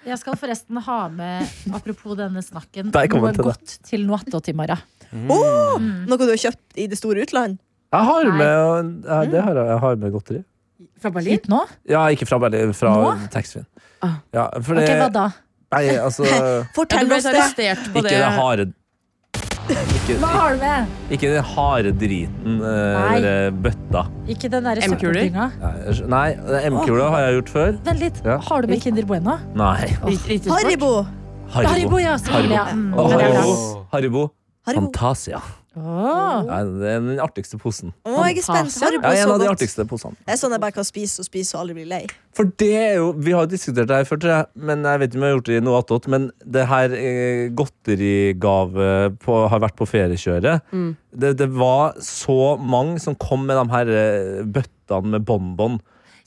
Speaker 2: Jeg skal forresten ha med, apropos denne snakken,
Speaker 6: Der kom
Speaker 2: noe
Speaker 6: den til deg.
Speaker 2: godt til noattot i morgen.
Speaker 3: Åh, noe du har kjøpt i det store utland?
Speaker 6: Jeg har
Speaker 2: Nei.
Speaker 6: med, ja, det har jeg, jeg har med godteri.
Speaker 4: Fra Berlin?
Speaker 2: Hit nå?
Speaker 6: Ja, ikke fra Berlin, fra
Speaker 2: Nå?
Speaker 6: taxfree-en.
Speaker 4: Ah.
Speaker 6: Ja, for
Speaker 2: Ok,
Speaker 6: det
Speaker 2: hva da?
Speaker 6: Nei, altså
Speaker 4: Ja, du
Speaker 3: Fortell
Speaker 4: ble sånn-
Speaker 3: oss det!
Speaker 4: arrestert på
Speaker 6: Ikke
Speaker 4: det.
Speaker 6: det harde
Speaker 2: Hva har du med?
Speaker 6: Ikke den harde driten, eh,
Speaker 2: Nei.
Speaker 6: eller bøtta.
Speaker 2: Ikke den derre
Speaker 4: M-kuler?
Speaker 2: søppeltinga.
Speaker 6: Nei, jeg skj- Nei, M-kula har jeg gjort før.
Speaker 2: Vent litt.
Speaker 6: Ja.
Speaker 2: Har du med Kinder Bueno?
Speaker 6: Nei.
Speaker 4: Rit- ritesport.
Speaker 3: Haribo!
Speaker 2: Haribo, ja. selvfølgelig, ja. Mm,
Speaker 6: Å,
Speaker 2: men det er bra.
Speaker 6: Haribo.
Speaker 5: bra.
Speaker 6: Haribo.
Speaker 3: Haribo.
Speaker 6: Fantasia.
Speaker 2: Åh.
Speaker 6: Nei, det er den artigste posen.
Speaker 3: Å, jeg er spent.
Speaker 4: Fantasia.
Speaker 3: Haribo
Speaker 6: Ja,
Speaker 3: er
Speaker 6: en
Speaker 3: så
Speaker 6: av de
Speaker 3: godt.
Speaker 6: artigste posene.
Speaker 3: Det er sånn jeg bare kan spise og spise og aldri bli lei.
Speaker 6: For det er jo, Vi har jo diskutert det her før, tror jeg, men jeg vet ikke om jeg har gjort det i noe attåt. Men det her eh, godterigave på, har vært på feriekjøret. Det, det var så mange som kom med de her eh, bøttene med bonbon.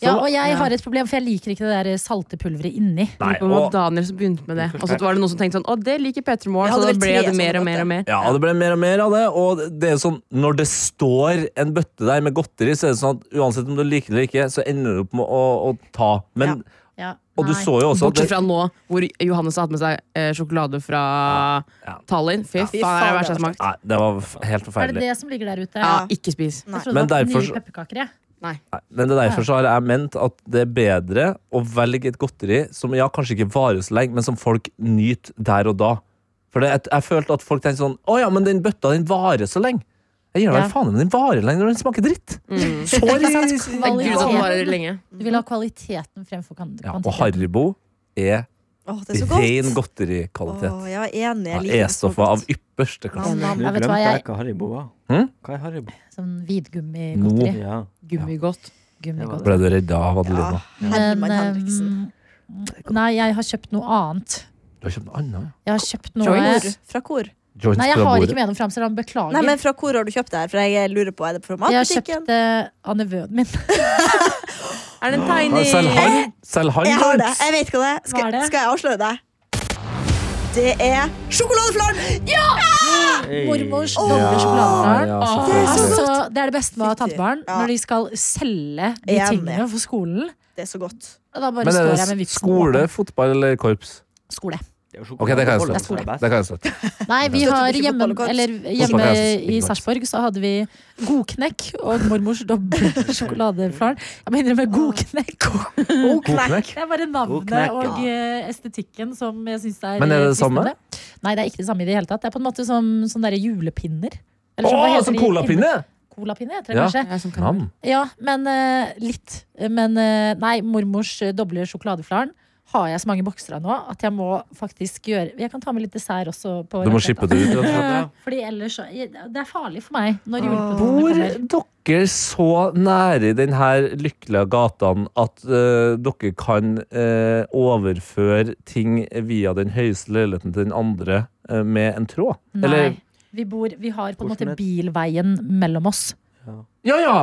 Speaker 6: Så-
Speaker 2: Ja, og jeg
Speaker 4: Ja.
Speaker 2: har et problem, for jeg liker ikke det der salte pulveret inni.
Speaker 6: Nei,
Speaker 4: Lurer på om det var
Speaker 6: og,
Speaker 4: Daniel som begynte med det. Og så var det noen som tenkte sånn Å, det liker Petter Moore.
Speaker 3: Jeg
Speaker 4: Så
Speaker 3: hadde
Speaker 4: da
Speaker 3: vel
Speaker 4: ble
Speaker 3: tre
Speaker 4: det
Speaker 3: sånne
Speaker 4: mer og
Speaker 3: på
Speaker 4: mer og mer.
Speaker 6: ja, det ble mer og mer av det. Og det er jo sånn, når det står en bøtte der med godteri, så er det sånn at uansett om du liker det eller ikke, så ender du opp med å, å ta. Men,
Speaker 2: Ja.
Speaker 6: Og du
Speaker 2: Nei.
Speaker 6: så jo også at
Speaker 4: Bortsett
Speaker 6: det,
Speaker 4: fra nå, hvor Johannes har hatt med seg eh, sjokolade fra
Speaker 6: Ja.
Speaker 4: Tallinn. Fy faen, det er det verste jeg har smakt.
Speaker 6: nei, det var f- helt
Speaker 2: Er det
Speaker 6: forferdelig.
Speaker 2: det som ligger der ute?
Speaker 4: Ja, ikke spis.
Speaker 3: Nei.
Speaker 2: Jeg trodde
Speaker 6: Men
Speaker 2: det var
Speaker 6: derfor
Speaker 2: nye
Speaker 6: så-
Speaker 2: pepperkaker, jeg.
Speaker 6: Nei, Men det er derfor så har jeg ment at det er bedre å velge et godteri som ja, kanskje ikke varer så lenge, men som folk nyter der og da. For det, jeg, jeg følte at folk tenkte sånn Å ja, men den bøtta den varer så lenge. Jeg gir deg
Speaker 2: Ja.
Speaker 6: faen, men den varer lenge når den smaker dritt.
Speaker 4: Mm.
Speaker 6: Sorry.
Speaker 4: Det er Gud at den varer
Speaker 2: Kvaliteten.
Speaker 4: lenge.
Speaker 2: Du vil ha kvaliteten fremfor kan-
Speaker 6: Ja, og
Speaker 2: kvantiteten.
Speaker 6: Haribo er
Speaker 3: Åh, det er så
Speaker 6: ren
Speaker 3: godt.
Speaker 6: godterikvalitet.
Speaker 3: Åh, jeg er enig.
Speaker 6: Ja,
Speaker 3: Jeg liker det så
Speaker 6: E-stoffa av
Speaker 3: godt.
Speaker 6: ypperste klasse.
Speaker 3: Nam, nam.
Speaker 5: Nå
Speaker 2: Jeg vet hva,
Speaker 5: glemte jeg
Speaker 2: jeg-
Speaker 5: hva Haribo var.
Speaker 6: Hm?
Speaker 5: Hva er Haribo?
Speaker 2: Sånn vidgummigodteri.
Speaker 5: Ja.
Speaker 4: Gummigodt.
Speaker 2: Gummigodt.
Speaker 6: Ble du redda av
Speaker 3: Ja.
Speaker 6: Adelina?
Speaker 3: Herman
Speaker 2: Men,
Speaker 3: Henriksen.
Speaker 2: mm, Nei, jeg har kjøpt noe annet.
Speaker 6: Du har kjøpt noe annet? ja.
Speaker 2: Jeg har kjøpt noe
Speaker 3: Hvor? Fra hvor?
Speaker 6: Joints
Speaker 2: Nei, jeg
Speaker 6: fra
Speaker 2: har
Speaker 6: bordet.
Speaker 2: ikke med noe fra Amsterdam. Beklager.
Speaker 3: Nei, men fra hvor har du kjøpt det her? For jeg lurer på, er det fra
Speaker 2: jeg har
Speaker 3: matbutikken?
Speaker 2: kjøpt det av nevøen min.
Speaker 4: Er den
Speaker 6: Ja,
Speaker 4: tegning?
Speaker 6: Selv han, selv han
Speaker 3: Jeg har det.
Speaker 6: Joints.
Speaker 3: Jeg vet hva det
Speaker 2: Hva
Speaker 3: er.
Speaker 2: er
Speaker 3: Skal,
Speaker 2: det?
Speaker 3: skal jeg avsløre deg? Det er sjokoladeflarm! Ja!
Speaker 5: Hey.
Speaker 2: Mormors
Speaker 3: Åh,
Speaker 2: doble sjokoladeflarm.
Speaker 6: Ja, ja,
Speaker 3: Det er så
Speaker 2: Altså, det er det beste med å ha
Speaker 3: Fytti.
Speaker 2: tantebarn.
Speaker 3: Ja.
Speaker 2: Når de skal selge de
Speaker 3: Enig.
Speaker 2: tingene for skolen.
Speaker 3: Det er så godt.
Speaker 2: Og da bare
Speaker 6: Men
Speaker 2: står
Speaker 6: er
Speaker 2: jeg med
Speaker 6: det
Speaker 2: vipsen.
Speaker 6: skole, fotball eller korps?
Speaker 2: Skole.
Speaker 5: Det er jo
Speaker 6: Ok, det kan jeg
Speaker 5: sjokoladebollen
Speaker 6: slutte.
Speaker 5: som er best.
Speaker 6: Det kan jeg slutte.
Speaker 2: Nei, vi
Speaker 3: Støtter
Speaker 2: har
Speaker 3: ikke
Speaker 2: hjemme,
Speaker 3: fotball og korps.
Speaker 2: eller hjemme
Speaker 6: Fotball og korps.
Speaker 2: i Sarpsborg så hadde vi godknekk og mormors doble sjokoladeflaren. Jeg må innrømme godknekk.
Speaker 6: God knekk.
Speaker 2: Det er bare
Speaker 5: Godknekk,
Speaker 2: navnet
Speaker 5: ja.
Speaker 2: og eh, estetikken som jeg syns er
Speaker 6: Men er det det
Speaker 2: eh, fristende.
Speaker 6: samme?
Speaker 2: Nei, det er ikke det samme i det hele tatt. Det er på en måte som sånne derre julepinner. Eller
Speaker 6: Å,
Speaker 2: sånn, hva heter
Speaker 6: som
Speaker 2: de?
Speaker 6: colapinne!
Speaker 2: Colapinne heter det
Speaker 6: Ja.
Speaker 2: kanskje.
Speaker 6: Nam.
Speaker 2: Ja, men eh, litt. Men eh, nei, mormors eh, doble sjokoladeflaren har jeg så mange bokser av nå at jeg må faktisk gjøre Jeg kan ta med litt dessert også. På
Speaker 6: Du må
Speaker 2: rett
Speaker 6: shippe
Speaker 2: etterpå.
Speaker 6: det ut. rett og slett.
Speaker 5: Ja.
Speaker 2: Fordi ellers så Det er farlig for meg når
Speaker 6: Bor
Speaker 2: juleprodukter kommer.
Speaker 6: dere så nære i denne lykkelige gataen at eh, dere kan eh, overføre ting via den høyeste leiligheten til den andre eh, med en tråd?
Speaker 2: Nei. Vi, bor, vi har på en
Speaker 5: Hvor som
Speaker 2: måte
Speaker 5: helst.
Speaker 2: bilveien mellom oss.
Speaker 6: Ja ja!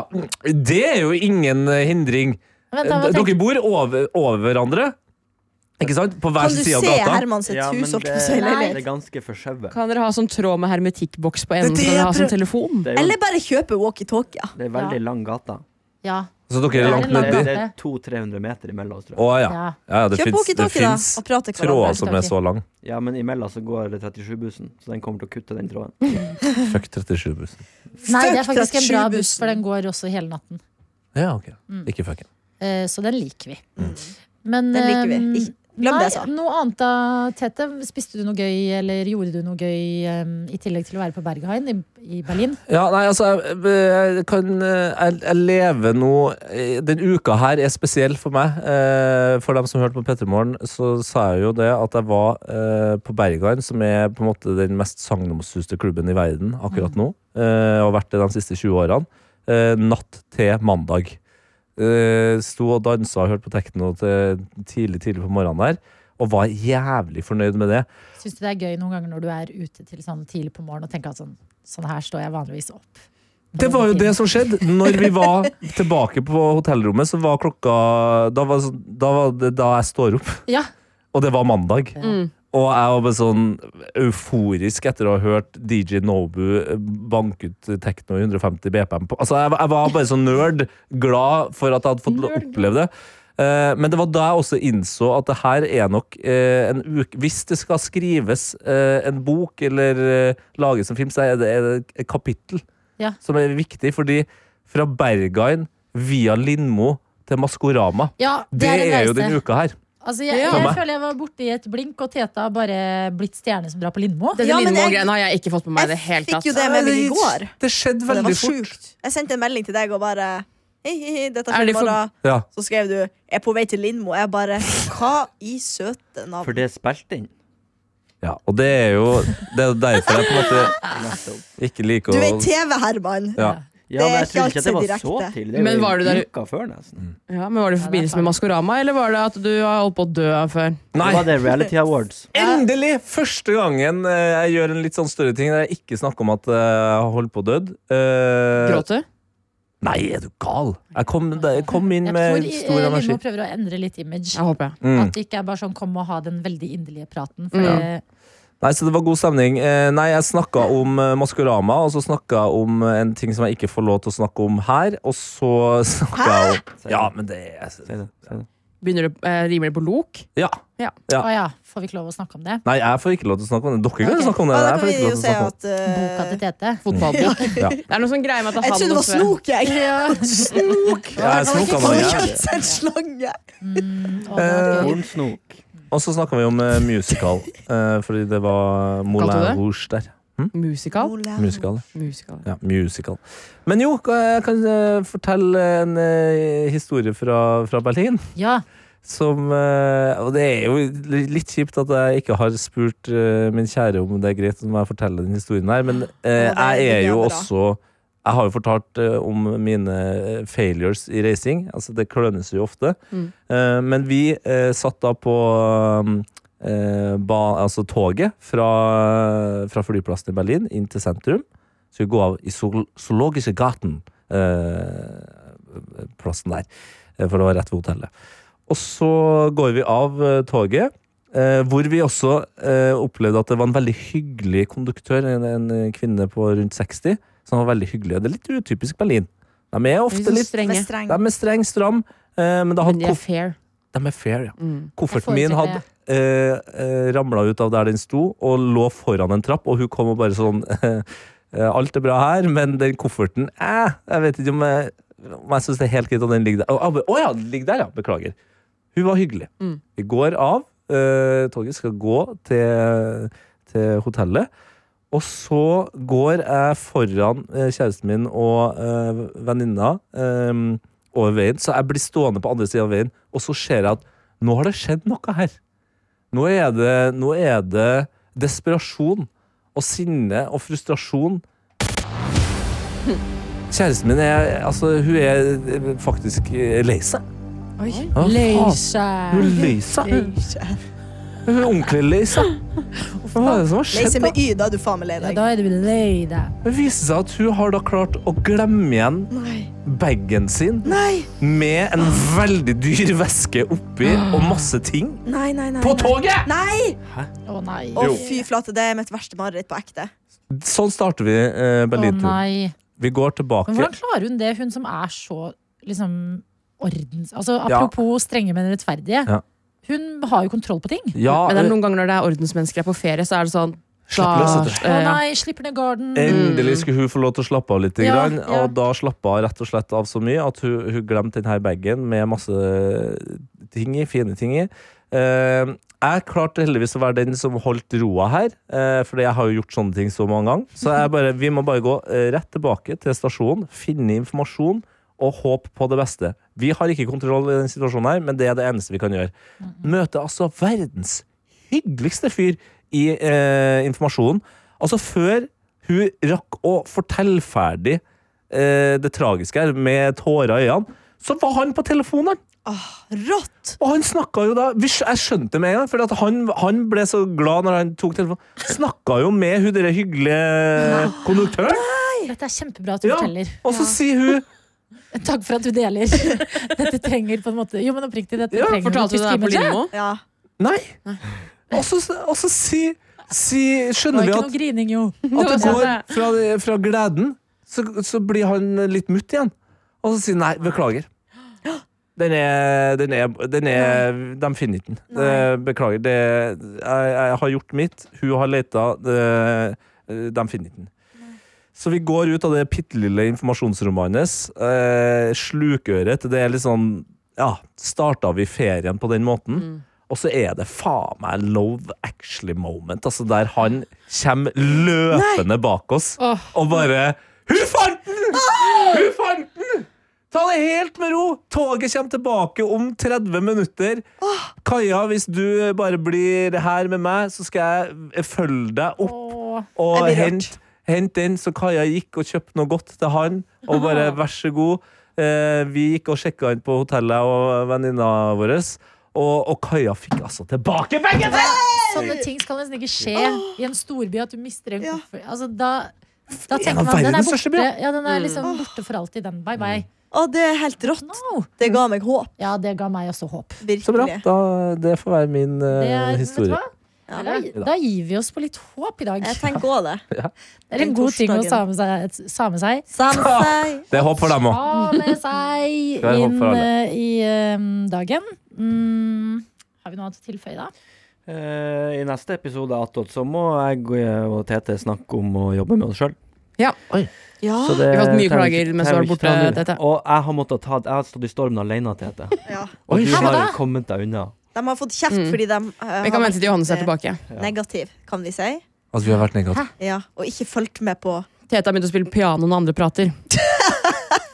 Speaker 6: Det er jo ingen eh, hindring.
Speaker 2: Vent, da, hva tenker
Speaker 6: Eh, Dere bor over, over hverandre. Ikke sant? På hver
Speaker 3: Kan du
Speaker 6: sin side av
Speaker 3: se
Speaker 6: gata.
Speaker 3: Herman sitt
Speaker 5: Ja, men
Speaker 3: hus? holdt jeg på å si,
Speaker 5: det-
Speaker 3: leilighet?
Speaker 5: Det er ganske forskjøvet.
Speaker 4: Kan dere ha sånn tråd med hermetikkboks på enden?
Speaker 3: Det er det
Speaker 4: Kan dere ha
Speaker 3: jeg
Speaker 4: sånn telefon?
Speaker 5: Det er, jo,
Speaker 3: Eller bare kjøpe walkietalkie.
Speaker 5: det er veldig lang gata.
Speaker 2: du? Ja.
Speaker 6: Så dere er
Speaker 2: Ja,
Speaker 6: langt
Speaker 2: det er langt.
Speaker 5: Det
Speaker 6: nedi.
Speaker 5: det er 200-300 meter imellom oss, tror jeg.
Speaker 6: Å ja.
Speaker 2: ja.
Speaker 6: ja, ja det
Speaker 3: Kjøp
Speaker 6: fins- det
Speaker 3: walkietalkie, da.
Speaker 6: fins
Speaker 3: Og prat til
Speaker 6: tråder
Speaker 3: hverandre.
Speaker 6: som er så lang.
Speaker 5: Ja, men imellom så går 37-bussen, så den kommer til å kutte den tråden.
Speaker 6: Fuck 37-bussen.
Speaker 2: Nei, det er faktisk en bra
Speaker 3: 37
Speaker 2: buss, for den går også hele natten.
Speaker 6: Ja, ok. Ikke fucken.
Speaker 2: Eh, Så den liker vi. Men
Speaker 3: Mm. Den liker vi.
Speaker 2: ehm,
Speaker 3: Ikke- Glem det altså. jeg sa.
Speaker 2: Nei, noe annet da, Tete. Spiste du noe gøy, eller gjorde du noe gøy ehm, i tillegg til å være på Berghain i, i Berlin?
Speaker 6: Ja, nei, altså jeg, jeg kan jeg, jeg lever nå eh, Den uka her er spesiell for meg. Eh, For dem som hørte på Pettermorgen, så sa jeg jo det at jeg var eh, på Bergan, som er på en måte den mest sagnomsuste klubben i verden akkurat nå. eh, Og har vært det de siste 20 årene. eh, Natt til mandag. Eh, Sto og dansa og hørte på tekno til tidlig, tidlig på morgenen der. Og var jævlig fornøyd med det.
Speaker 2: Syns du det er gøy noen ganger når du er ute til sånn tidlig på morgenen og tenker at sånn, sånn her står jeg vanligvis opp?
Speaker 6: Det var jo det som skjedde. Når vi var tilbake på hotellrommet, så var klokka Da var, da var det da jeg står opp.
Speaker 2: Ja.
Speaker 6: Og det var mandag.
Speaker 4: Mm.
Speaker 6: Og jeg var bare sånn euforisk etter å ha hørt DJ Nobu eh, banke ut Tekno i 150 BPM. På. Altså, jeg, var- jeg var bare sånn nerd, glad for at jeg hadde fått
Speaker 2: Nerd.
Speaker 6: oppleve det. Eh, Men det var da jeg også innså at det her er nok eh, en uke Hvis det skal skrives eh, en bok eller eh, lages en film, så er det er det et kapittel
Speaker 2: Ja.
Speaker 6: som er viktig. Fordi fra Berghain via Lindmo til Maskorama,
Speaker 2: Ja,
Speaker 6: det, er, jo
Speaker 2: den
Speaker 6: den uka her.
Speaker 2: Altså, jeg,
Speaker 4: Ja.
Speaker 2: jeg,
Speaker 6: Samme.
Speaker 2: føler jeg var borte i et blink, og Teta har bare blitt stjerne som drar på Lindmo.
Speaker 4: Dette
Speaker 3: Ja, men jeg-
Speaker 4: Lindmo-greiene har jeg ikke fått med meg i det altså.
Speaker 3: Jeg
Speaker 4: hele
Speaker 3: fikk
Speaker 4: tatt.
Speaker 3: jo det med meg i
Speaker 6: Nei,
Speaker 3: går.
Speaker 6: Det skjedde
Speaker 3: Og det var
Speaker 6: veldig fort.
Speaker 3: sjukt. Jeg sendte en melding til deg og bare Hei, hei, hei, dette
Speaker 4: Er
Speaker 3: skjer
Speaker 4: de
Speaker 3: i
Speaker 4: for-
Speaker 3: morgen.
Speaker 6: Ja.
Speaker 3: Så skrev du 'Jeg er på vei til Lindmo'. Jeg bare Hva i søte
Speaker 5: For
Speaker 3: navn?
Speaker 5: det er spilt inn.
Speaker 6: Ja, og det er jo det er derfor jeg på en måte
Speaker 5: Nettopp.
Speaker 6: ikke liker
Speaker 3: Du
Speaker 6: å
Speaker 3: er TV-Herman.
Speaker 6: ja.
Speaker 5: Ja, men jeg
Speaker 3: ikke
Speaker 5: trodde ikke at det
Speaker 3: alltid
Speaker 5: var så
Speaker 3: direkte.
Speaker 5: tidlig. Det er
Speaker 4: Men
Speaker 5: jo
Speaker 4: var du der-
Speaker 5: uka før, nesten.
Speaker 4: altså. Ja, men Var det i
Speaker 2: Ja,
Speaker 4: forbindelse
Speaker 2: det er
Speaker 4: med Maskorama, eller var det at du har holdt på å dø av før?
Speaker 6: Nei!
Speaker 5: Da var det Reality Awards.
Speaker 6: Endelig! Første gangen eh, jeg gjør en litt sånn større ting der jeg ikke snakker om at eh, jeg har holdt på å dø. Eh,
Speaker 4: Gråt du?
Speaker 6: nei, er du gal? Jeg kom, jeg kom inn
Speaker 2: Jeg tror
Speaker 6: med stor
Speaker 2: eh, Lindmo
Speaker 6: energi.
Speaker 2: prøver å endre litt image.
Speaker 4: Jeg håper jeg.
Speaker 6: Mm.
Speaker 2: At det ikke er bare sånn 'kom og ha den veldig inderlige praten'. For
Speaker 4: Ja.
Speaker 2: det-
Speaker 6: Nei, så det var god stemning. Eh, nei, jeg snakka om eh, Maskorama, og så snakka jeg om eh, en ting som jeg ikke får lov til å snakke om her, og så snakka jeg om Ja, men det
Speaker 5: Si
Speaker 6: er
Speaker 5: det, si det.
Speaker 4: Begynner du, eh, rimer det på lok?
Speaker 6: Ja. Ja.
Speaker 2: Å ja, får vi ikke lov å snakke om det?
Speaker 6: Nei, jeg får ikke lov til å snakke om det. Dere kan
Speaker 2: Ok.
Speaker 6: snakke om
Speaker 3: Ja, da
Speaker 6: det. Jeg
Speaker 3: kan
Speaker 6: får ikke
Speaker 3: vi
Speaker 6: lov
Speaker 3: jo
Speaker 6: til å
Speaker 3: se
Speaker 6: snakke om
Speaker 3: at
Speaker 6: det.
Speaker 3: eh,
Speaker 2: Boka til Tete.
Speaker 4: Fotballbok?
Speaker 6: Ja.
Speaker 4: Det er noe sånn greie med at
Speaker 3: Jeg trodde det var snok, jeg.
Speaker 2: Ja.
Speaker 3: Snok!
Speaker 6: Ja, jeg snoka
Speaker 3: Han
Speaker 6: meg
Speaker 3: har
Speaker 6: jævlig.
Speaker 3: kjøpt seg en slange.
Speaker 2: Mm, å, det var
Speaker 6: Eh,
Speaker 2: gøy.
Speaker 5: Hornsnok.
Speaker 6: Og så snakka vi om eh, musical, eh, fordi det var
Speaker 4: Kalte du det?
Speaker 6: Moulin Rouge der.
Speaker 4: Musikal?
Speaker 6: Musical.
Speaker 4: Musikal.
Speaker 6: Ja, musical. Men jo, kan- jeg kan eh, fortelle en eh, historie fra, fra Berlin.
Speaker 2: Ja.
Speaker 6: Som eh, Og det er jo li- litt kjipt at jeg ikke har spurt eh, min kjære om det er greit om jeg forteller den historien her, men eh,
Speaker 3: Å, det er
Speaker 6: jeg er
Speaker 3: veldig
Speaker 6: jo
Speaker 3: bra.
Speaker 6: også Jeg har jo fortalt eh, om mine eh, failures i racing. Altså, det klønes jo ofte.
Speaker 4: Mm.
Speaker 6: Eh, men vi eh, satt da på um, eh, ba, altså toget fra, fra flyplassen i Berlin inn til sentrum. Så vi går av i Zool- Zoologiske gaten, eh, plassen der, eh, for det var rett ved hotellet. Og så går vi av eh, toget, eh, hvor vi også eh, opplevde at det var en veldig hyggelig konduktør, en, en kvinne på rundt 60, som var veldig hyggelig. Og det er litt utypisk Berlin. De er
Speaker 4: Litt
Speaker 6: ofte
Speaker 4: sånn
Speaker 6: litt
Speaker 4: strenge.
Speaker 3: streng.
Speaker 6: de er streng, stram, eh, men da
Speaker 4: Men
Speaker 6: hadde
Speaker 4: de er fair.
Speaker 6: De er fair, ja.
Speaker 4: Mm.
Speaker 6: Kofferten
Speaker 2: Jeg
Speaker 6: min
Speaker 2: foretrekker
Speaker 6: hadde eh, eh, ramla ut av der den sto, og lå foran en trapp, og hun kom og bare sånn eh, Alt er bra her, men den kofferten eh, Jeg vet ikke om jeg, om jeg syns det er helt greit at den ligger der. Å oh, ja, den ligger der, ja. Beklager. Hun var hyggelig.
Speaker 4: Mm.
Speaker 6: Vi går av. eh, toget skal gå til, til hotellet. Og så går jeg foran eh, kjæresten min og eh, venninna eh, over veien, så jeg blir stående på andre siden av veien, og så ser jeg at nå har det skjedd noe her. Nå er det, nå er det desperasjon og sinne og frustrasjon. Kjæresten min er, altså, hun er faktisk eh, lei seg.
Speaker 3: Oi.
Speaker 6: Ja, faen. Hun
Speaker 4: Leise.
Speaker 6: er lei seg. Hun er ordentlig lei seg. Hva var det som har
Speaker 3: Lei
Speaker 6: skjedd?
Speaker 3: seg
Speaker 6: da?
Speaker 3: med Y, da er du faen meg lei
Speaker 2: Ja,
Speaker 3: deg.
Speaker 2: da er du lei deg.
Speaker 6: Det viser seg at hun har da klart å glemme igjen
Speaker 3: Nei.
Speaker 6: bagen sin
Speaker 3: Nei,
Speaker 6: med en veldig dyr veske oppi og masse ting.
Speaker 3: nei, nei. nei
Speaker 6: På
Speaker 3: nei.
Speaker 6: toget!
Speaker 3: Nei!
Speaker 2: Å nei.
Speaker 3: Å, fy flate, det er mitt verste mareritt på ekte.
Speaker 6: Sånn starter vi eh,
Speaker 2: Å
Speaker 6: Berlinturen.
Speaker 2: nei.
Speaker 6: Vi går tilbake.
Speaker 2: Men hvordan klarer hun det, hun som er så liksom ordens... Altså
Speaker 6: Ja.
Speaker 2: apropos strenge, men rettferdige.
Speaker 6: Ja.
Speaker 2: Hun har jo kontroll på ting.
Speaker 6: Ja,
Speaker 4: Men det er
Speaker 6: eh,
Speaker 4: noen ganger når det er ordensmennesker er på ferie, så er det sånn
Speaker 6: Slapp løs,
Speaker 4: da-
Speaker 6: vet du.
Speaker 2: Å
Speaker 4: eh, ja.
Speaker 2: nei, slipper ned garden.
Speaker 6: eh, Endelig skulle hun få lov til å slappe av litt.
Speaker 2: Ja,
Speaker 6: grann,
Speaker 2: ja.
Speaker 6: Og da slappa hun rett og slett av så mye at hun, hun glemte denne bagen med masse ting i, fine ting i. Eh, jeg klarte heldigvis å være den som holdt roa her, uh, fordi jeg har jo gjort sånne ting så mange ganger. Så jeg bare, vi må bare gå eh, rett tilbake til stasjonen, finne informasjon og håpe på det beste. Vi har ikke kontroll i den situasjonen her, men det er det eneste vi kan gjøre. Møter altså verdens hyggeligste fyr i eh, informasjonen. Altså før hun rakk å fortelle ferdig eh, det tragiske her med tårer i øynene, så var han på telefonen!
Speaker 3: Åh, rått!
Speaker 6: Og han snakka jo da vi skj- Jeg skjønte det med en gang, for han, han ble så glad når han tok telefonen. Snakka jo med hun derre hyggelige konduktøren,
Speaker 2: Dette er kjempebra at du
Speaker 6: Ja.
Speaker 2: forteller.
Speaker 6: og så sier hun
Speaker 2: Takk for at du deler. Dette trenger på en måte Jo, men oppriktig, dette
Speaker 6: Ja,
Speaker 2: trenger
Speaker 4: Fortalte du det
Speaker 2: tyske
Speaker 4: her på
Speaker 2: imaget.
Speaker 4: Lindmo?
Speaker 3: Ja.
Speaker 6: Nei! Og så, og så si, si,
Speaker 2: Det var
Speaker 6: skjønner vi
Speaker 2: ikke
Speaker 6: at
Speaker 2: noe grining, jo.
Speaker 6: At det
Speaker 4: Det var
Speaker 6: går
Speaker 4: sant,
Speaker 6: fra, fra gleden, så, så blir han litt mutt igjen. Og så sier han nei, beklager. Den er, den er, den er De finner ikke den. Eh, Beklager. Det, jeg, jeg har gjort mitt, hun har leita, det- de finner ikke den. Så vi går ut av det bitte lille informasjonsrommet hans. Eh, slukøret. Det er litt sånn Ja, starta vi ferien på den måten? Og så er det faen meg Love Actually moment, altså der han kommer løpende bak oss
Speaker 4: Åh.
Speaker 6: og bare Hun fant den! Hun fant den! Ta det helt med ro! Toget kommer tilbake om 30 minutter. Kaja, hvis du bare blir her med meg, så skal jeg følge deg opp
Speaker 2: Åh.
Speaker 6: og
Speaker 3: Jeg blir rørt.
Speaker 6: hent, hent den, så Kaja gikk og kjøpte noe godt til han. Og bare vær så god. Eh, vi gikk og sjekka han på hotellet og venninna vår. Og, og Kaja fikk altså tilbake bagen!
Speaker 2: Sånne ting skal nesten ikke skje i en storby, at du mister en
Speaker 3: Ja.
Speaker 2: koffert. Altså, da, da
Speaker 6: En av
Speaker 2: tenker man den er
Speaker 6: verdens Mm. største
Speaker 2: borte.
Speaker 6: byer.
Speaker 2: Ja, den er liksom borte for alltid. Den. Bye, bye.
Speaker 3: Å, det er helt rått.
Speaker 2: No.
Speaker 3: Det ga meg håp.
Speaker 2: Ja, det ga meg også håp.
Speaker 6: Så bra.
Speaker 3: Virkelig.
Speaker 6: Da, det får være min eh,
Speaker 2: Det er, vet du
Speaker 6: historie.
Speaker 2: hva?
Speaker 3: Ja.
Speaker 2: Da, da gir vi oss på litt håp i dag.
Speaker 3: Jeg tenker òg det.
Speaker 2: Det er en god ting å sa med seg. Sa med seg.
Speaker 3: Samsei.
Speaker 6: Det er håp for dem òg.
Speaker 2: Ta med seg
Speaker 6: Det er håp
Speaker 2: inn
Speaker 6: for alle.
Speaker 2: eh, i eh, dagen. Mm, har vi noe annet å tilføye da?
Speaker 5: Eh, I neste episode av Attåt så må jeg og Tete snakke om å jobbe med oss sjøl.
Speaker 4: Ja.
Speaker 3: Ja.
Speaker 5: Så det
Speaker 4: Vi har hatt mye
Speaker 5: trenger vi
Speaker 4: klager
Speaker 5: ikke-
Speaker 4: mens du har
Speaker 5: trenger vi
Speaker 4: vært
Speaker 5: ikke
Speaker 4: borte,
Speaker 5: ta nå.
Speaker 4: Tete.
Speaker 5: Og jeg har måttet ta Jeg har stått i stormen alene, Tete.
Speaker 3: ja.
Speaker 5: Og du
Speaker 2: Hæ, hva
Speaker 5: har
Speaker 2: da?
Speaker 5: jo kommet deg unna.
Speaker 3: De har fått kjeft fordi de eh,
Speaker 4: Mm. Vi kan
Speaker 3: har
Speaker 4: vente til Johannes er tilbake.
Speaker 3: vært negativ, kan vi si.
Speaker 6: Altså, vi har vært negative.
Speaker 3: Ja. Og ikke fulgt med på
Speaker 4: Tete har begynt å spille piano når andre prater.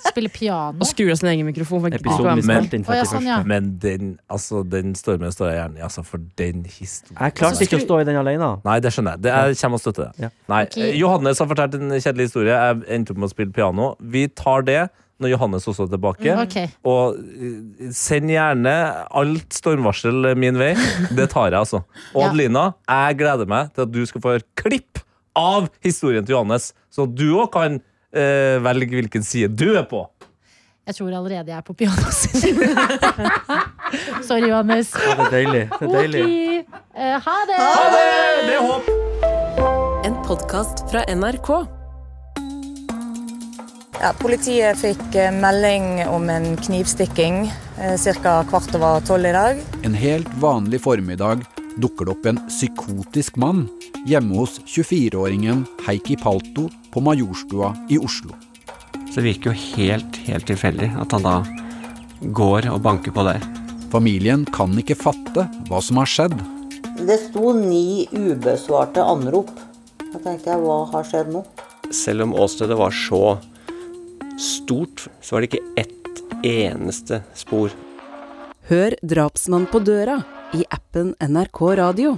Speaker 2: Spille piano.
Speaker 4: Og skrur av sin egen mikrofon. for jeg gidder ikke
Speaker 5: Episoden
Speaker 4: være
Speaker 5: vi
Speaker 4: med på den.
Speaker 5: spilte inn
Speaker 2: Å, ja, sånn,
Speaker 5: 31.
Speaker 2: ja.
Speaker 6: Men den, altså, den stormen står jeg gjerne i, altså, for den historien.
Speaker 4: Altså,
Speaker 5: Jeg klarte ikke å stå i den alene.
Speaker 6: Nei, det skjønner jeg. Det er, jeg kommer og støtter det.
Speaker 5: Ja.
Speaker 6: Nei,
Speaker 2: Ok.
Speaker 6: eh, Johannes har fortalt en kjedelig historie. Jeg endte opp med å spille piano. Vi tar det når Johannes også er tilbake.
Speaker 2: Mm, Ok.
Speaker 6: Og eh, send gjerne alt stormvarsel min vei. Det tar jeg, altså. Og
Speaker 2: Ja.
Speaker 6: Adelina, jeg gleder meg til at du skal få høre klipp av historien til Johannes, så du òg kan eh, velge hvilken side du er på.
Speaker 2: Jeg tror allerede jeg er på pianoet sitt. Sorry, Johannes.
Speaker 5: Det er deilig. Det er
Speaker 2: Ok.
Speaker 5: deilig.
Speaker 2: Eh, ha det!
Speaker 6: Ha det! Det er håp!
Speaker 7: En podkast fra NRK. Ja, politiet fikk eh, melding om en knivstikking ca. kvart over tolv i dag.
Speaker 8: En helt vanlig formiddag dukker det opp en psykotisk mann hjemme hos 24-åringen Heikki Palto på Majorstua i Oslo.
Speaker 6: Så det virker jo helt, helt tilfeldig at han da går og banker på der.
Speaker 8: Familien kan ikke fatte hva som har skjedd.
Speaker 9: Det sto ni ubesvarte anrop. Da tenkte jeg, hva har skjedd nå?
Speaker 6: Selv om åstedet var så stort, så var det ikke ett eneste spor.
Speaker 10: Hør Drapsmann på døra i appen NRK Radio.